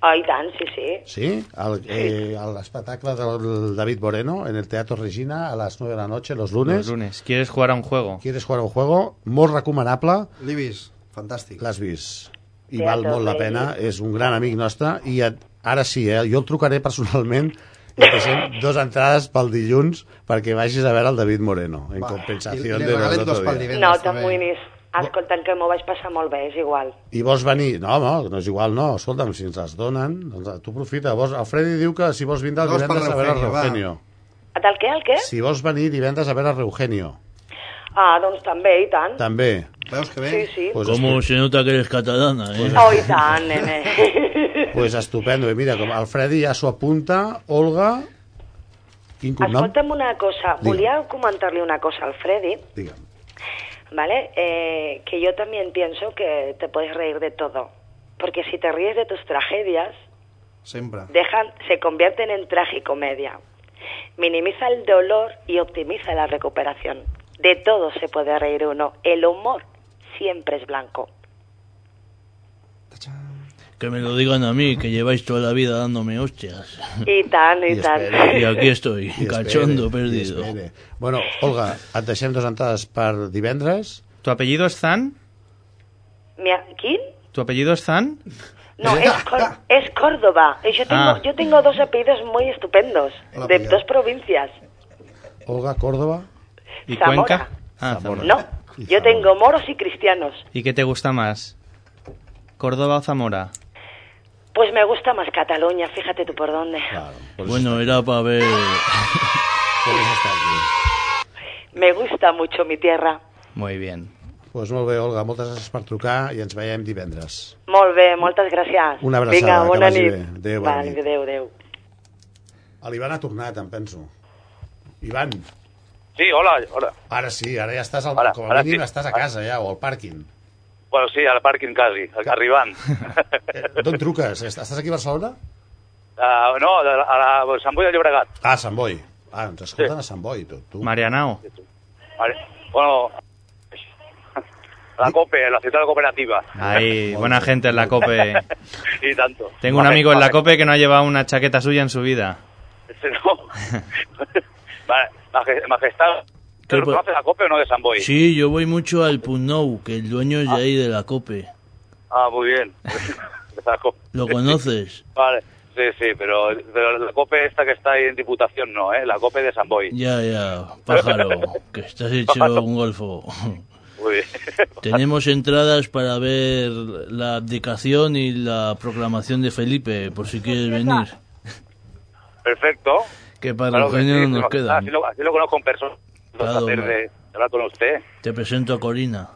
Speaker 18: Ay, Dan, sí, sí.
Speaker 3: Sí, al, eh, a l'espectacle del David Moreno en el Teatre Regina a les 9 de la noche, los lunes.
Speaker 9: Los lunes. ¿Quieres jugar a un juego?
Speaker 3: ¿Quieres jugar a un juego? Molt recomanable.
Speaker 10: L'he vist, fantàstic.
Speaker 3: L'has vist. I
Speaker 10: Teatre
Speaker 3: val molt la
Speaker 10: Regina.
Speaker 3: pena. És un gran amic nostre. I et, ara sí, eh, jo el trucaré personalment i et deixem dos entrades pel dilluns perquè vagis a veure el David Moreno en
Speaker 10: I
Speaker 3: compensació
Speaker 10: li
Speaker 3: de
Speaker 10: regalem dos pel
Speaker 3: dia.
Speaker 18: No, t'amoïnis. Escolta'm, que m'ho vaig passar molt bé, és igual.
Speaker 3: I vols venir? No, no, no és igual, no. Escolta'm, si ens les donen, doncs tu profita. Vols, el Freddy diu que si vols vindre el
Speaker 10: Dos per
Speaker 3: divendres a veure el
Speaker 10: l'Eugenio, va.
Speaker 3: Eugenio.
Speaker 18: Del què, el què?
Speaker 3: Si vols venir divendres a veure el Eugenio,
Speaker 18: Ah, doncs també, i tant.
Speaker 3: també.
Speaker 10: Veus que
Speaker 18: Sí, sí.
Speaker 3: Pues
Speaker 16: Como se nota que eres catalana, eh?
Speaker 18: Oh, i tant, nene. *laughs*
Speaker 3: Pues estupendo. I mira, com el Freddy ja s'ho apunta, Olga... Quin cognom?
Speaker 18: Escolta'm una cosa,
Speaker 3: Digue'm.
Speaker 18: volia comentar-li una cosa al Freddy,
Speaker 3: Digue'm.
Speaker 18: ¿vale? Eh, que yo también pienso que te puedes reír de todo, porque si te ríes de tus tragedias,
Speaker 10: Sempre.
Speaker 18: dejan, se convierten en tragicomedia. Minimiza el dolor y optimiza la recuperación. De todo se puede reír uno. El humor siempre es blanco.
Speaker 16: Que me lo digan a mí, que lleváis toda la vida dándome hostias.
Speaker 18: Y tan, y, tan.
Speaker 16: *laughs* Y
Speaker 18: *laughs*
Speaker 16: aquí estoy,
Speaker 3: Mm. I espere,
Speaker 16: cachondo
Speaker 3: i
Speaker 16: perdido.
Speaker 3: espere. Bueno, Olga, et deixem dos entrades per divendres.
Speaker 9: ¿Tu apellido es Zan?
Speaker 18: Mi a- ¿Quién?
Speaker 9: ¿Tu apellido es Zan?
Speaker 18: No, es, Cor- es Córdoba. Yo tengo,
Speaker 9: Ah.
Speaker 18: yo tengo dos apellidos muy estupendos,
Speaker 3: Hola,
Speaker 18: de
Speaker 3: Pilar.
Speaker 18: dos provincias.
Speaker 3: Olga, Córdoba.
Speaker 9: ¿Y
Speaker 18: Zamora.
Speaker 9: Cuenca? Ah, Zamora.
Speaker 18: No, yo tengo moros y cristianos.
Speaker 9: ¿Y qué te gusta más? ¿Córdoba o Zamora?
Speaker 18: Pues me gusta más Cataluña, fíjate tú por dónde.
Speaker 17: Pues
Speaker 16: Bueno, era para ver.
Speaker 18: Me gusta mucho mi tierra.
Speaker 9: Muy bien.
Speaker 3: Pues molt bé, Olga, moltes gràcies per trucar i ens veiem divendres.
Speaker 18: Molt bé, moltes gràcies.
Speaker 3: Una abraçada,
Speaker 18: Vinga,
Speaker 3: que
Speaker 18: bona
Speaker 3: vagi
Speaker 18: nit.
Speaker 3: bé. Adéu, bona
Speaker 18: Val,
Speaker 3: nit.
Speaker 18: adéu, adéu.
Speaker 3: L'Ivan ha tornat, em penso. Ivan,
Speaker 17: Sí, hola, hola.
Speaker 3: ara sí, ara ja estàs al...
Speaker 17: Ara,
Speaker 3: com a
Speaker 17: ara
Speaker 3: mínim
Speaker 17: sí.
Speaker 3: estàs a casa ja, o al
Speaker 17: *laughs*
Speaker 3: pàrquing.
Speaker 17: Bueno, sí, al pàrquing quasi, arribant.
Speaker 9: *laughs*
Speaker 3: D'on truques? Est- Estàs aquí a Barcelona?
Speaker 17: Uh, no, a, la- a, la- a Sant Boi de Llobregat.
Speaker 3: Ah, a Sant Boi. Ah, ens escolten sí. a Sant Boi, tot, tu.
Speaker 9: Marianao.
Speaker 17: Vale. Bueno, a la COPE, a la central cooperativa.
Speaker 9: Ahí, buena gente en la
Speaker 17: *laughs*
Speaker 9: COPE.
Speaker 17: y tanto.
Speaker 9: Tengo un
Speaker 17: Vale,
Speaker 9: amigo en la
Speaker 17: vale.
Speaker 9: COPE que no ha llevado una chaqueta suya en su vida.
Speaker 17: Ese *laughs* no.
Speaker 9: *laughs*
Speaker 17: vale, maje- majestad,
Speaker 16: ¿Qué
Speaker 17: ¿tú
Speaker 16: pa-
Speaker 17: conoces la COPE o no de San Boi?
Speaker 16: Sí, yo voy mucho al Punou, que el dueño es de ahí, de la COPE.
Speaker 17: Ah, muy bien. *laughs* Esa COPE. *laughs*
Speaker 16: ¿Lo conoces?
Speaker 17: Vale. Sí, sí, pero, pero la COPE esta que está ahí en Diputación no, ¿eh? La COPE de San Boi.
Speaker 16: Ya, ya, pájaro, que estás hecho un golfo. *laughs*
Speaker 17: Muy bien.
Speaker 16: Tenemos entradas para ver la abdicación y la proclamación de Felipe, por si quieres venir.
Speaker 17: Perfecto.
Speaker 16: Que para
Speaker 17: Claro que
Speaker 16: Eugenio
Speaker 17: sí,
Speaker 16: nos
Speaker 17: sí,
Speaker 16: quedan.
Speaker 17: Así lo, así lo conozco en persona. Un
Speaker 16: Claro,
Speaker 17: placer
Speaker 16: hombre.
Speaker 17: de hablar con usted.
Speaker 16: Te presento a Corina.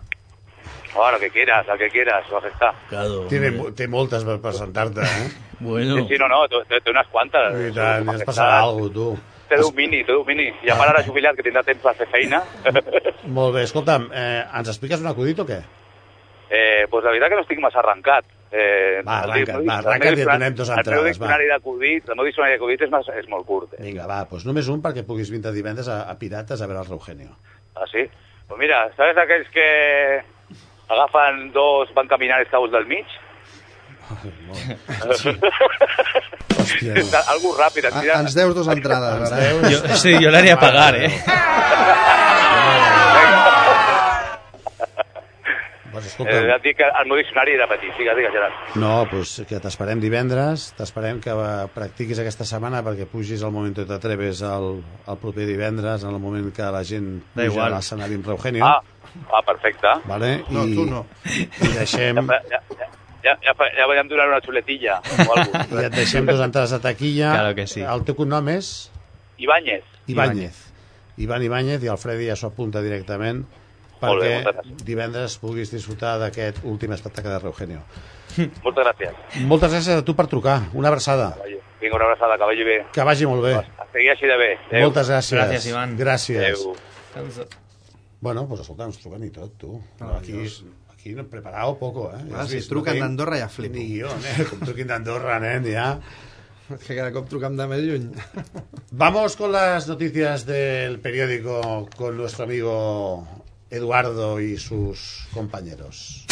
Speaker 17: Ahora que quieras, al que quieras, majestad.
Speaker 16: Claro.
Speaker 3: Té, mo- té moltes per
Speaker 17: Pues
Speaker 3: presentar-te, eh?
Speaker 16: Bueno.
Speaker 17: Sí, no, no, te, te unas cuantas.
Speaker 3: I tant, ja et passarà alguna cosa, tu.
Speaker 17: Te doy un mini, te doy un mini. I a part ara jubilat, que tindrà temps per fer feina.
Speaker 3: Molt bé, escolta'm, eh, ens expliques un acudit o què?
Speaker 17: eh, pues la veritat que no estic massa arrencat. Eh,
Speaker 3: Va,
Speaker 17: el
Speaker 3: arrenca't,
Speaker 17: meu-
Speaker 3: va,
Speaker 17: el
Speaker 3: arrenca't
Speaker 17: meu
Speaker 3: i et
Speaker 17: diccionari-
Speaker 3: donem dos
Speaker 17: El meu
Speaker 3: entrades, va.
Speaker 17: diccionari d'acudit, el meu diccionari d'acudit és, mas- és molt curt. Eh?
Speaker 3: Vinga, va, doncs només un perquè puguis vindre divendres a, a Pirates a veure el Reugenio.
Speaker 17: Ah, sí? Pues mira, ¿sabes aquells que agafen dos, van caminar escaus del mig? Hòstia. Algo ràpid,
Speaker 3: Ah,
Speaker 17: et tira-
Speaker 10: A, Ah, ens
Speaker 3: *laughs*
Speaker 10: deus dos entrades, ara.
Speaker 9: Yo- sí, yo le haría pagar, ¿eh?
Speaker 3: Doncs escolta'm,
Speaker 17: Eh, ja et dic que el meu diccionari era petit, digues, digues, Gerard.
Speaker 3: No, doncs que t'esperem divendres, t'esperem que eh, practiquis aquesta setmana perquè pugis al moment que t'atreves el, el proper divendres, en el moment que la gent
Speaker 17: Da
Speaker 3: puja a
Speaker 17: igual.
Speaker 3: l'escenari amb Reugenio.
Speaker 17: Ah, ah, perfecte.
Speaker 3: Vale? No, I, tu no. I deixem,
Speaker 17: Ja, ja, ja, ja, fa- ja vam donar una xuletilla o alguna
Speaker 3: *laughs* i et deixem dos entrades a taquilla. Claro que sí. El teu cognom és
Speaker 17: Ibáñez.
Speaker 3: Ibáñez. Ivan Ibáñez i el Freddy ja s'ho apunta directament
Speaker 17: Molt bé, moltes
Speaker 3: perquè divendres puguis disfrutar d'aquest últim espectacle de Reugenio.
Speaker 17: Moltes gràcies.
Speaker 3: Moltes gràcies a tu per trucar. Una abraçada.
Speaker 17: Vinga, una abraçada, que vagi bé.
Speaker 3: Que vagi molt bé.
Speaker 17: A seguir així de bé. Adéu.
Speaker 3: Moltes gràcies.
Speaker 9: Gràcies, Ivan.
Speaker 3: Gràcies.
Speaker 17: Adéu.
Speaker 3: Bueno, pues escolta, ens truquen i tot, tu.
Speaker 10: Ah,
Speaker 3: No, aquí, aquí no preparado poco, eh?
Speaker 10: Clar,
Speaker 3: Has
Speaker 10: si
Speaker 3: vist?
Speaker 10: truquen
Speaker 3: tinc
Speaker 10: d'Andorra ja flipo.
Speaker 3: Ni guió, *laughs* nen. Com truquin d'Andorra, nen,
Speaker 10: *laughs*
Speaker 3: ja.
Speaker 10: Que cada cop trucam de més lluny.
Speaker 3: *laughs* Vamos con las noticias del periódico con nuestro amigo Eduardo y sus compañeros.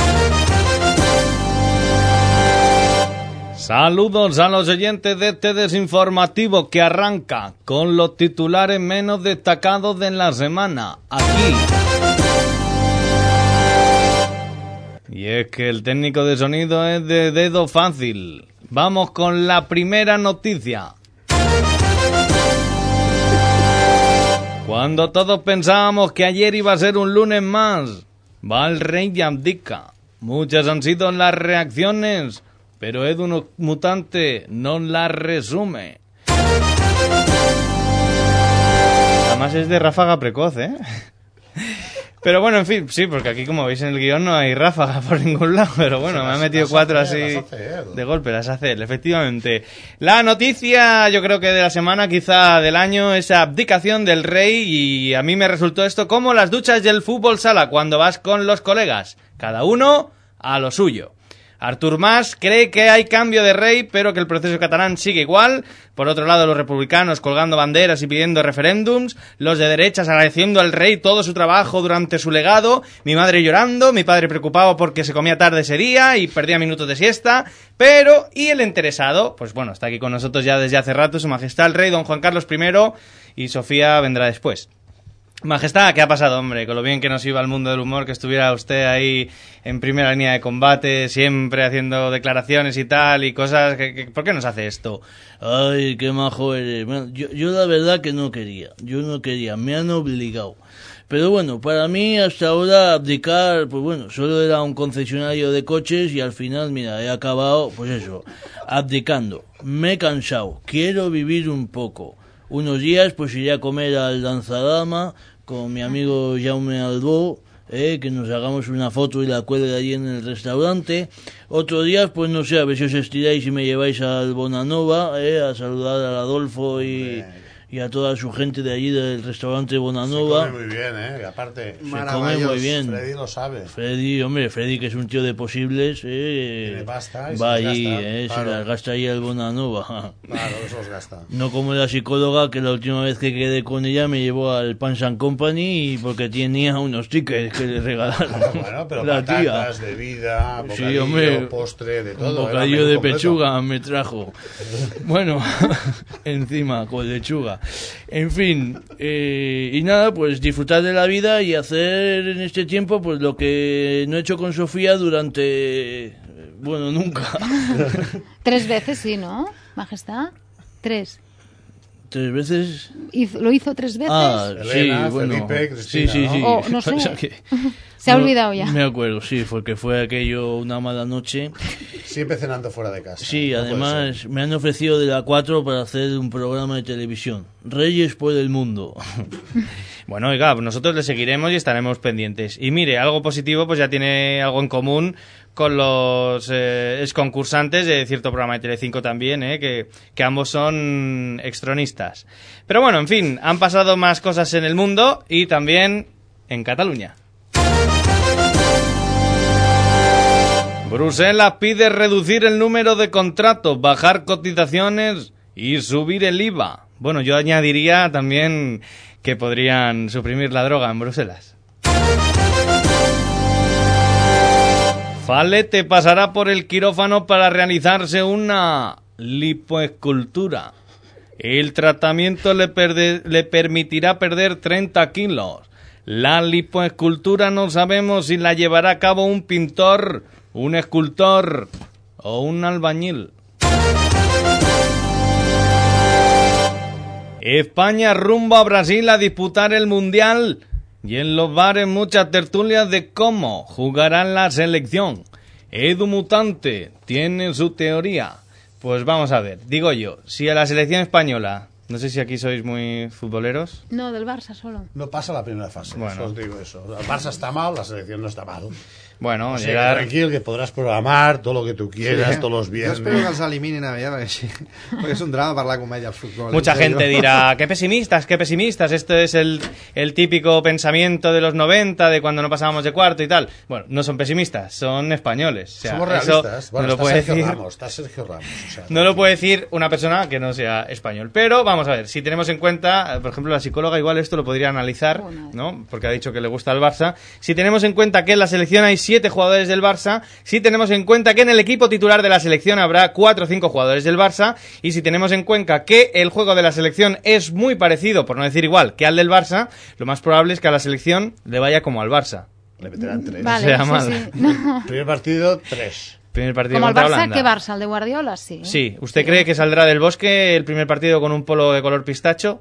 Speaker 9: Saludos a los oyentes de este desinformativo que arranca con los titulares menos destacados de la semana. Aquí. Y es que el técnico de sonido es de dedo fácil. Vamos con la primera noticia. Cuando todos pensábamos que ayer iba a ser un lunes más, va el rey y abdica. Muchas han sido las reacciones, pero Edu no- Mutante no las resume. Además es de ráfaga precoz, ¿eh? Pero bueno, en fin, sí, porque aquí como veis en el guión no hay ráfaga por ningún lado, pero bueno, me ha metido cuatro así de golpe, las hace él, efectivamente. La noticia, yo creo que de la semana, quizá del año, es abdicación del rey y a mí me resultó esto como las duchas del fútbol sala cuando vas con los colegas, cada uno a lo suyo. Artur Mas cree que hay cambio de rey, pero que el proceso catalán sigue igual. Por otro lado, los republicanos colgando banderas y pidiendo referéndums. Los de derechas agradeciendo al rey todo su trabajo durante su legado. Mi madre llorando, mi padre preocupado porque se comía tarde ese día y perdía minutos de siesta. Pero, y el interesado, pues bueno, está aquí con nosotros ya desde hace rato, su majestad el rey, don Juan Carlos I, y Sofía vendrá después. Majestad, ¿qué ha pasado, hombre? Con lo bien que nos iba el mundo del humor, que estuviera usted ahí en primera línea de combate, siempre haciendo declaraciones y tal, y cosas. que- que- ¿Por qué nos hace esto?
Speaker 16: Ay, qué majo eres. Bueno, yo, yo la verdad que no quería. Yo no quería. Me han obligado. Pero bueno, para mí hasta ahora abdicar, pues bueno, solo era un concesionario de coches y al final, mira, he acabado, pues eso, abdicando. Me he cansado. Quiero vivir un poco. Unos días pues iré a comer al Danzadama con mi amigo Jaume Albó. eh, que nos hagamos una foto y la cuelgue allí en el restaurante. Otro día, pues no sé, a ver si os estiráis y me lleváis al Bonanova, eh, a saludar al Adolfo y, y a toda su gente de allí del restaurante Bonanova.
Speaker 3: Se come muy bien, ¿eh? Aparte,
Speaker 16: Se come muy bien.
Speaker 3: Freddy lo sabe.
Speaker 16: Freddy, hombre, Freddy que es un tío de posibles, eh,
Speaker 3: Tiene pasta y se
Speaker 16: va
Speaker 3: las
Speaker 16: allí,
Speaker 3: gasta,
Speaker 16: eh,
Speaker 3: claro.
Speaker 16: se las gasta ahí al Bonanova. *laughs*
Speaker 3: Claro, eso los gasta.
Speaker 16: No como la psicóloga que la última vez que quedé con ella me llevó al Pans and Company y porque tenía unos tickets que le regalaron.
Speaker 3: Bueno,
Speaker 16: *laughs*
Speaker 3: pero
Speaker 16: la tía.
Speaker 3: patatas, bebida,
Speaker 16: Sí,
Speaker 3: bocadillo,
Speaker 16: hombre.
Speaker 3: postre, de
Speaker 16: Un
Speaker 3: todo. era
Speaker 16: bocadillo
Speaker 3: menú
Speaker 16: de
Speaker 3: completo.
Speaker 16: pechuga me trajo. Bueno, *laughs* encima, con lechuga. En fin, eh, y nada, pues disfrutar de la vida y hacer en este tiempo pues lo que no he hecho con Sofía durante... eh, Bueno,
Speaker 3: *laughs*
Speaker 16: nunca.
Speaker 8: Tres veces, sí, ¿no? Majestad. Tres.
Speaker 16: Tres veces...
Speaker 8: Hizo- lo hizo tres veces.
Speaker 16: Ah,
Speaker 3: Elena,
Speaker 16: sí, bueno.
Speaker 3: Felipe,
Speaker 16: sí,
Speaker 3: Cristina,
Speaker 16: sí,
Speaker 3: ¿no?
Speaker 16: sí.
Speaker 8: O, no sé.
Speaker 16: *laughs* O sea que-
Speaker 8: *laughs* Se ha
Speaker 16: no,
Speaker 8: olvidado ya.
Speaker 16: Me acuerdo, sí, porque fue aquello una mala noche.
Speaker 3: Siempre cenando fuera de casa.
Speaker 16: Sí,
Speaker 3: No puede ser.
Speaker 16: además me han ofrecido de la 4 para hacer un programa de televisión. Reyes por el
Speaker 3: *laughs*
Speaker 16: mundo.
Speaker 9: Bueno, oiga, nosotros le seguiremos y estaremos pendientes. Y mire, algo positivo, pues ya tiene algo en común con los eh, concursantes de cierto programa de Telecinco también, eh, que, que ambos son extronistas. Pero bueno, en fin, han pasado más cosas en el mundo y también en Cataluña. Bruselas pide reducir el número de contratos, bajar cotizaciones y subir el IVA. Bueno, yo añadiría también que podrían suprimir la droga en Bruselas. Falete pasará por el quirófano para realizarse una lipoescultura. El tratamiento le, perde- le permitirá perder 30 kilos. La lipoescultura pues, no sabemos si la llevará a cabo un pintor, un escultor o un albañil. España rumbo a Brasil a disputar el Mundial y en los bares muchas tertulias de cómo jugará la selección. Edu Mutante tiene su teoría. Pues vamos a ver, digo yo, si a la selección española, no sé si aquí sois muy futboleros.
Speaker 8: No, del Barça solo.
Speaker 3: No pasa la primera fase,
Speaker 9: Bueno.
Speaker 3: solo os digo eso. El Barça está mal, la selección no está mal.
Speaker 9: Bueno,
Speaker 3: O sea,
Speaker 9: llegar-
Speaker 3: tranquil, que podràs programar todo lo que tú quieras,
Speaker 9: Sí.
Speaker 3: todos los
Speaker 10: Jo
Speaker 3: viernes.
Speaker 10: espero que els eliminin aviat, perquè, sí, perquè és un drama parlar comèdia al futbol.
Speaker 9: *laughs* Mucha
Speaker 10: en serio.
Speaker 9: gente dirá, qué pesimistas, qué pesimistas, esto es el, el típico pensamiento de los 90, de cuando no pasábamos de cuarto y tal. Bueno, no son pesimistas, son españoles. O sea,
Speaker 3: Somos
Speaker 9: eso
Speaker 3: realistas. Bueno,
Speaker 9: no lo
Speaker 3: está
Speaker 9: puede
Speaker 3: Sergio
Speaker 9: decir-
Speaker 3: Ramos, está Sergio Ramos. O sea,
Speaker 9: No lo puede decir una persona que no sea español. Pero vamos a ver, si tenemos en cuenta, eh, por ejemplo, la psicóloga igual esto lo podría analizar, ¿no? Porque ha dicho que le gusta el Barça. Si tenemos en cuenta que en la selección hay siete jugadores del Barça, si tenemos en cuenta que en el equipo titular de la selección habrá cuatro o cinco jugadores del Barça, y si tenemos en cuenta que el juego de la selección es muy parecido, por no decir igual, que al del Barça, lo más probable es que a la selección le vaya como al Barça.
Speaker 3: Le meterán tres.
Speaker 8: Vale,
Speaker 9: sea
Speaker 8: sí,
Speaker 9: mal.
Speaker 8: sí. No.
Speaker 3: Primer partido, tres.
Speaker 9: Primer partido
Speaker 8: Como el
Speaker 9: contra
Speaker 8: Barça,
Speaker 9: Holanda.
Speaker 8: ¿qué Barça? ¿El de Guardiola? Sí.
Speaker 9: Sí, ¿usted cree que saldrá del bosque el primer partido con un polo de color pistacho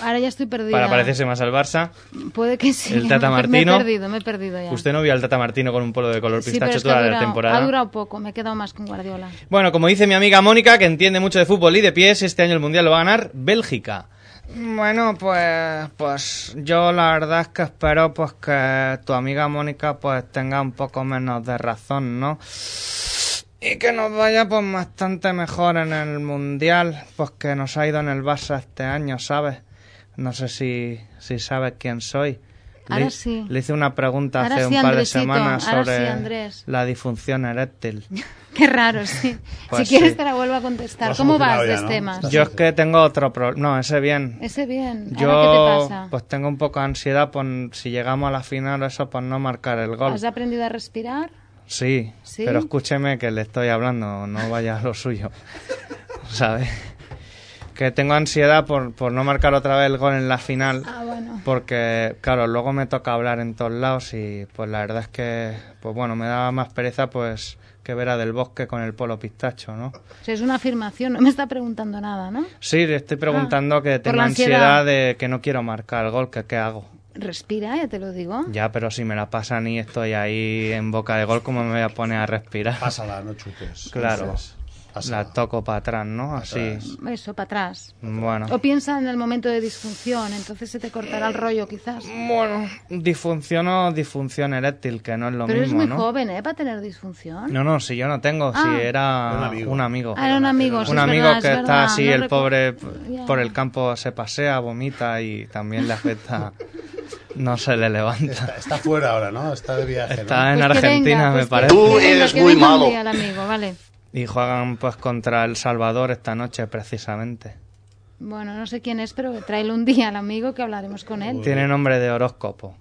Speaker 8: Ahora ya estoy perdida.
Speaker 9: para parecerse más al Barça?
Speaker 8: Puede que sí.
Speaker 9: El
Speaker 8: *laughs*
Speaker 9: Tata
Speaker 8: Me-
Speaker 9: Martino.
Speaker 8: Me he perdido, me he perdido ya.
Speaker 9: Usted no vio al Tata Martino con un polo de color
Speaker 8: Sí,
Speaker 9: pistacho
Speaker 8: pero es que
Speaker 9: toda
Speaker 8: ha
Speaker 9: la
Speaker 8: durado-
Speaker 9: temporada.
Speaker 8: Ha durado poco, me he quedado más con
Speaker 9: *laughs*
Speaker 8: Guardiola.
Speaker 9: Bueno, como dice mi amiga Mónica, que entiende mucho de fútbol y de pies, este año el Mundial lo va a ganar Bélgica. Bueno, pues, pues yo la verdad es que espero pues que tu amiga Mónica pues tenga un poco menos de razón, ¿no? Y que nos vaya pues bastante mejor en el Mundial, pues que nos ha ido en el Barça este año, ¿sabes? No sé si, si sabes quién soy.
Speaker 8: Ahora
Speaker 9: le,
Speaker 8: sí.
Speaker 9: le hice una pregunta
Speaker 8: Ahora
Speaker 9: hace
Speaker 8: sí,
Speaker 9: un par
Speaker 8: Andresito,
Speaker 9: de semanas
Speaker 8: ahora sí,
Speaker 9: sobre
Speaker 8: Andrés.
Speaker 9: la disfunción
Speaker 8: *laughs*
Speaker 9: eréctil.
Speaker 8: Qué raro, sí.
Speaker 9: Pues
Speaker 8: si quieres
Speaker 9: sí.
Speaker 8: te la vuelvo a contestar.
Speaker 9: Lo has
Speaker 8: ¿Cómo vas
Speaker 9: solucionado
Speaker 8: de
Speaker 9: ya, ¿no?
Speaker 8: temas?
Speaker 9: Yo es que tengo otro problema. No, ese bien.
Speaker 8: Ese bien. ¿Ahora qué
Speaker 9: Yo
Speaker 8: te pasa?
Speaker 9: pues tengo un poco de ansiedad por si llegamos a la final o eso por no marcar el gol.
Speaker 8: ¿Has aprendido a respirar?
Speaker 9: Sí,
Speaker 8: ¿Sí? *laughs*
Speaker 9: pero escúcheme que le estoy hablando, no vaya a lo suyo. ¿Sabes? que tengo ansiedad por, por no marcar otra vez el gol en la final.
Speaker 19: Ah, bueno.
Speaker 9: Porque, claro, luego me toca hablar en todos lados y pues la verdad es que, pues bueno, me daba más pereza pues que ver a Del Bosque con el polo pistacho, ¿no?
Speaker 8: O sea, es una afirmación, no me está preguntando nada, ¿no?
Speaker 9: Sí, le estoy preguntando
Speaker 8: Ah,
Speaker 9: que
Speaker 8: por
Speaker 9: tengo
Speaker 8: la
Speaker 9: ansiedad.
Speaker 8: ansiedad.
Speaker 9: de que no quiero marcar el gol, que qué hago.
Speaker 8: Respira, ya te lo digo.
Speaker 9: Ya, pero si me la pasan y estoy ahí en boca de gol, ¿cómo me voy a poner a respirar?
Speaker 3: Pásala, no chutes.
Speaker 9: Claro.
Speaker 3: Entonces,
Speaker 9: La toco para atrás, ¿no? Así.
Speaker 8: Eso, para atrás.
Speaker 9: Bueno.
Speaker 8: O piensa en el momento de disfunción, entonces se te cortará el rollo quizás.
Speaker 9: Bueno. Disfunción o disfunción eréctil, que no es lo
Speaker 8: Pero es
Speaker 9: mismo,
Speaker 8: muy
Speaker 9: ¿no?
Speaker 8: joven, ¿eh? Para tener disfunción.
Speaker 9: No, no, si yo no tengo,
Speaker 8: Ah.
Speaker 9: si era
Speaker 8: Un
Speaker 9: un
Speaker 8: amigo.
Speaker 9: amigo.
Speaker 8: Ah, era un amigo, sí,
Speaker 9: Un
Speaker 8: es
Speaker 9: amigo
Speaker 8: verdad, es
Speaker 9: que
Speaker 8: verdad,
Speaker 9: está así,
Speaker 8: no
Speaker 9: el
Speaker 8: recu-
Speaker 9: pobre p-
Speaker 8: Ya.
Speaker 9: por el campo se pasea, vomita y también
Speaker 8: *laughs*
Speaker 9: le afecta. no se le levanta.
Speaker 3: Está fuera ahora, ¿no? Está de viaje. ¿no?
Speaker 9: Está en
Speaker 8: Pues
Speaker 9: Argentina, me parece.
Speaker 8: Que venga un día el amigo, vale.
Speaker 9: Y juegan pues contra El Salvador esta noche precisamente.
Speaker 8: Bueno, no sé quién es, pero tráele un día al amigo que hablaremos con él.
Speaker 9: Tiene nombre de horóscopo.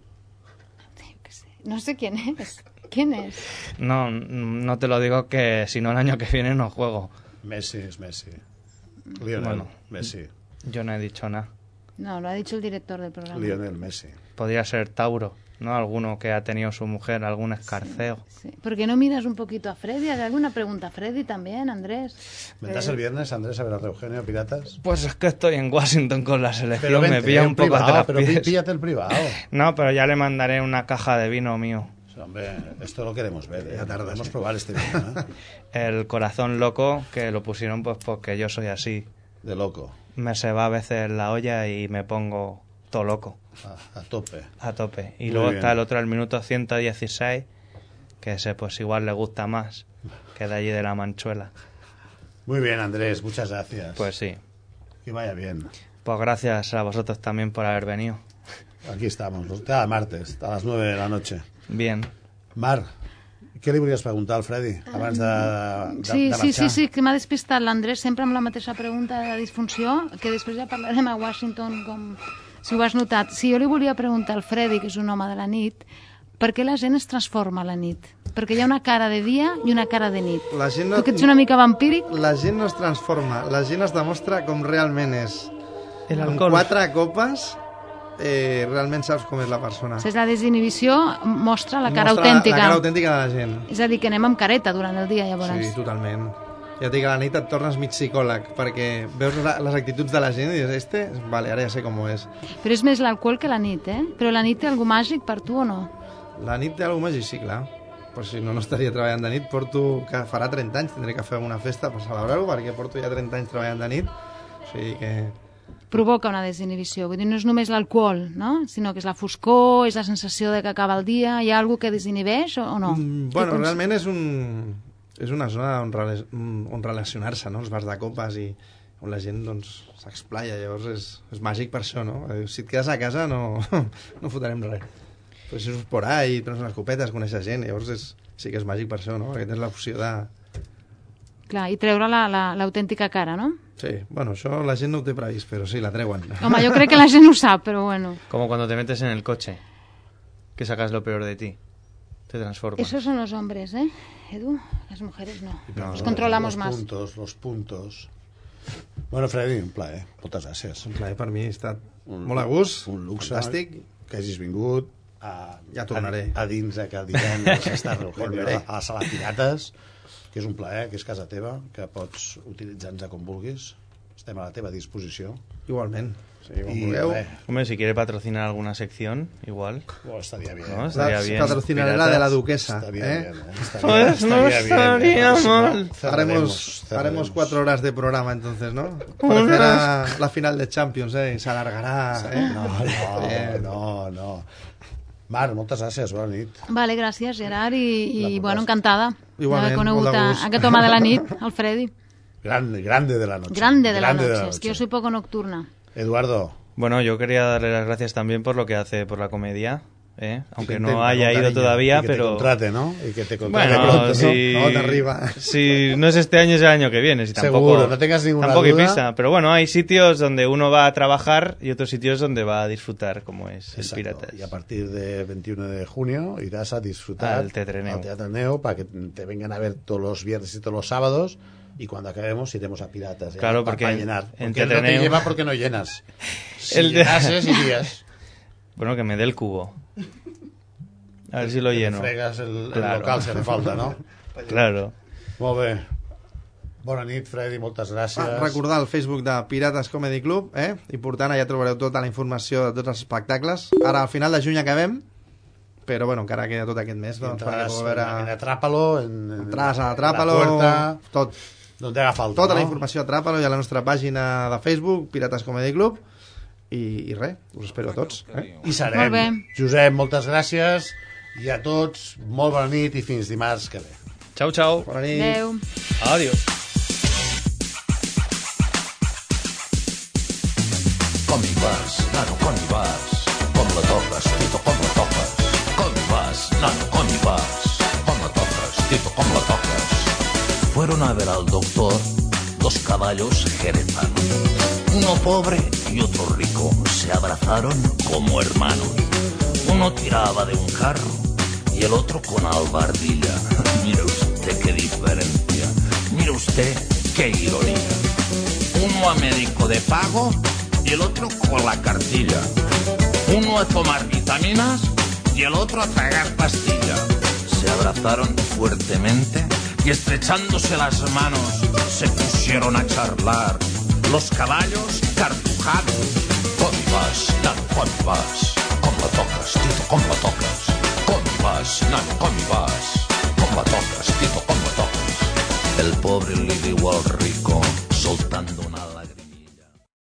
Speaker 8: No sé quién es. ¿Quién es?
Speaker 9: No, no te lo digo que si no el año que viene no juego. Mm.
Speaker 3: Messi es Messi. Lionel Messi.
Speaker 9: Yo no he dicho nada.
Speaker 8: No, lo ha dicho el director del programa.
Speaker 3: Messi.
Speaker 9: Podría ser Tauro, ¿no? Alguno que ha tenido su mujer, algún escarceo.
Speaker 8: ¿Por qué no miras un poquito a Freddy? Haz alguna pregunta a Freddy también, Andrés? Eh,
Speaker 3: ¿Vendrás el viernes, Andrés, a ver a Eugenio Piratas?
Speaker 9: Pues es que estoy en Washington con la selección,
Speaker 3: Pero vente,
Speaker 9: me pilla
Speaker 3: en
Speaker 9: un poco
Speaker 3: privado,
Speaker 9: atrás. pues.
Speaker 3: pero pí- píllate el privado.
Speaker 9: No, pero ya le mandaré una caja de vino mío.
Speaker 3: Hombre, esto lo queremos ver. ¿eh? Ya tardamos probar este vino. ¿eh?
Speaker 9: *laughs* El corazón loco, que lo pusieron pues porque yo soy así.
Speaker 3: De loco.
Speaker 9: Me se va a veces la olla y me pongo todo loco.
Speaker 3: A, a tope.
Speaker 9: A tope. Y
Speaker 3: Muy
Speaker 9: luego
Speaker 3: bien.
Speaker 9: está el otro, el minuto 116, que ese pues igual le gusta más que de allí de la manchuela.
Speaker 3: Muy bien, Andrés, muchas gracias.
Speaker 9: Pues sí.
Speaker 3: Que vaya bien.
Speaker 9: Pues gracias a vosotros también por haber venido.
Speaker 3: Aquí estamos, los- cada Pues martes, a las 9 de la noche.
Speaker 9: Bien.
Speaker 3: Mar, què li volies preguntar al Freddy abans de, de,
Speaker 8: Ah, Sí,
Speaker 3: de
Speaker 8: sí, sí,
Speaker 3: marxar?
Speaker 8: sí, que m'ha despistat l'Andrés sempre amb la mateixa pregunta de disfunció, que després ja parlarem a Washington com si ho has notat. Si jo li volia preguntar al Freddy, que és un home de la nit, per què la gent es transforma a la nit? Perquè hi ha una cara de dia i una cara de nit.
Speaker 10: La gent
Speaker 8: Tu que ets una mica vampíric,
Speaker 10: La gent no es transforma, la gent es demostra com realment és.
Speaker 9: El
Speaker 10: Amb
Speaker 8: alcohol.
Speaker 10: quatre copes eh, realment saps com és la persona.
Speaker 8: és la desinhibició, mostra la cara
Speaker 10: Mostra
Speaker 8: autèntica.
Speaker 10: La cara autèntica de la gent.
Speaker 8: És a dir, que anem amb careta durant el dia, llavors.
Speaker 10: Sí, totalment. Ja et dic, a la nit et tornes mig psicòleg, perquè veus la, les actituds de la gent i dius, este, vale, ara ja sé com és.
Speaker 8: Però és més l'alcohol que la nit, eh? Però la nit té alguna màgic per tu o no?
Speaker 10: La nit té alguna màgia, sí, clar. Però si no, no estaria treballant de nit. Porto, que farà 30 anys, tindré que fer una festa per celebrar-ho, perquè porto ja 30 anys treballant de nit. O sigui que...
Speaker 8: Provoca una desinhibició. Vull dir, no és només l'alcohol, no? Sinó que és la foscor, és la sensació de que acaba el dia. Hi ha alguna que desinhibeix o o no?
Speaker 10: Mm, bueno,
Speaker 8: Què penses?
Speaker 10: realment és un... És una zona on, rela- on relacionar-se, no? Els bars de copes i on la gent doncs s'explaya, llavors és, és màgic per això, no? Eh, Si et quedes a casa no, *laughs* no fotrem res. Però si surts por ahí, prens unes copetes, coneixes gent, llavors és, sí que és màgic per això, no? Perquè tens l'opció de...
Speaker 8: Clar, i treure la- la- l'autèntica la, cara, no?
Speaker 10: Sí, bueno, això la gent no ho té previst, però sí, la treuen.
Speaker 8: Home, jo crec que la gent
Speaker 10: *laughs*
Speaker 8: ho sap, però bueno.
Speaker 9: Como cuando te metes en el coche, que sacas lo peor de ti. Te transformas.
Speaker 8: Esos son los hombres, ¿eh? Edu, las mujeres no.
Speaker 9: No,
Speaker 8: Nos controlamos
Speaker 3: los
Speaker 8: más.
Speaker 3: Puntos, los puntos. Bueno, Freddy, un plaer. Moltes gràcies. Un
Speaker 10: plaer per mi, ha estat
Speaker 3: un,
Speaker 10: molt a gust,
Speaker 3: un luxe,
Speaker 10: fantàstic.
Speaker 3: que hagis vingut a,
Speaker 10: Ja tornaré.
Speaker 3: a, a dins de que
Speaker 10: *laughs*
Speaker 3: divendres estàs reunint
Speaker 10: Volveré.
Speaker 3: a, a la sala Pirates, que és un plaer, que és casa teva, que pots utilitzar-nos com vulguis. Estem a la teva disposició.
Speaker 10: Igualment. Sí, quan
Speaker 3: I,
Speaker 10: vulgueu.
Speaker 3: res,
Speaker 9: Hombre, si quiere patrocinar alguna sección, igual.
Speaker 3: Bueno, Pues estaría bien.
Speaker 9: No, estaría
Speaker 10: La-
Speaker 9: bien.
Speaker 10: patrocinaré la de la duquesa.
Speaker 3: Estaría
Speaker 10: ¿eh?
Speaker 3: bien, ¿eh? Estaría- Pues estaría no bien, ¿eh? estaría Pues no, mal. cerraremos,
Speaker 10: Haremos,
Speaker 3: cerraremos.
Speaker 10: haremos cuatro horas de programa entonces, ¿no?
Speaker 3: Unas.
Speaker 10: Parecerá la final de Champions, ¿eh? Y se alargará. ¿eh?
Speaker 3: No, no,
Speaker 10: Bien.
Speaker 3: no, no. Mar, moltes gràcies, bona nit.
Speaker 8: Vale, gràcies, Gerard, i, i bueno, encantada
Speaker 3: Igualment,
Speaker 8: d'haver conegut
Speaker 3: molt de
Speaker 8: a,
Speaker 3: gust.
Speaker 8: aquest home de la nit, el Freddy.
Speaker 3: Grande, grande de la noche.
Speaker 8: Grande de la
Speaker 9: Grande de la
Speaker 8: noche, és que jo soy poco nocturna.
Speaker 3: Eduardo.
Speaker 9: Bueno, yo quería darle las gracias también por lo que hace por la comedia. ¿eh? aunque
Speaker 3: Gente,
Speaker 9: no haya
Speaker 3: con
Speaker 9: ido
Speaker 3: cariño,
Speaker 9: todavía,
Speaker 3: y que te
Speaker 9: pero...
Speaker 3: contrate, ¿no? Y que te contrate
Speaker 9: bueno,
Speaker 3: pronto, ¿no?
Speaker 9: si...
Speaker 3: No, de arriba.
Speaker 9: Si no es este año, es el año que viene. Si tampoco,
Speaker 3: Seguro, no tengas ninguna
Speaker 9: tampoco hay
Speaker 3: duda.
Speaker 9: prisa. Pero bueno, hay sitios donde uno va a trabajar y otros sitios donde va a disfrutar, como es el Piratas.
Speaker 3: Y a partir del 21 de junio irás a disfrutar
Speaker 9: Al Tetreneo.
Speaker 3: al Tetreneo para que te vengan a ver todos los viernes y todos los sábados. Y cuando acabemos iremos a Piratas. ¿eh?
Speaker 9: Claro,
Speaker 3: Pa-
Speaker 9: porque
Speaker 3: para
Speaker 9: en-
Speaker 3: llenar.
Speaker 9: en
Speaker 3: Porque no te
Speaker 9: Tetreneo-
Speaker 3: lleva porque no
Speaker 9: *laughs*
Speaker 3: llenas. Si
Speaker 9: El de- *laughs*
Speaker 3: llenases, irías.
Speaker 9: Bueno, que me dé el cubo. A ver si lo
Speaker 3: Te
Speaker 9: lleno.
Speaker 3: fregas el- el local si hace falta, no?
Speaker 9: *laughs* Claro.
Speaker 3: Molt bé. Bona nit, Freddy, moltes gràcies.
Speaker 10: Ah, recordar el Facebook de Pirates Comedy Club, eh? Important, allà trobareu tota la informació de tots els espectacles. Ara, al final de juny acabem, però bueno, encara queda tot aquest mes, doncs, perquè
Speaker 3: Entraràs
Speaker 10: pugueu
Speaker 3: veure... en
Speaker 10: veure...
Speaker 3: Atrápalo, en, en,
Speaker 10: Entraràs a
Speaker 3: en
Speaker 10: Atràpalo,
Speaker 3: la puerta,
Speaker 10: tot.
Speaker 3: D'on haga falta,
Speaker 10: Tota
Speaker 3: no?
Speaker 10: la informació a Atràpalo i a la nostra pàgina de Facebook, Pirates Comedy Club, i, i res, us espero a tots. Eh?
Speaker 3: I serem. Molt bé. Josep, moltes gràcies i a tots, molt bona nit i fins dimarts que ve.
Speaker 9: Chao, chao.
Speaker 10: Bona
Speaker 3: nit. Adéu.
Speaker 9: Adiós.
Speaker 5: Com hi vas, nano, com hi vas? Com la toques, Tito, com la toques? Com hi vas, nano, com hi vas? Com la toques, Tito, com la toques? Fueron a ver al doctor dos caballos jerezanos. Uno pobre y otro rico se abrazaron como hermanos. Uno tiraba de un carro y el otro con albardilla. *laughs* Mire usted qué diferencia. Mire usted qué ironía. Uno a médico de pago y el otro con la cartilla. Uno a tomar vitaminas y el otro a tragar pastilla. Se abrazaron fuertemente y estrechándose las manos se pusieron a charlar. Los caballos cartujados. Com hi vas, nano, com hi vas? Com la toques, Tito, com la toques? Com hi vas, nano, com hi vas? Com la toques, Tito, com la toques? El pobre li diu al rico,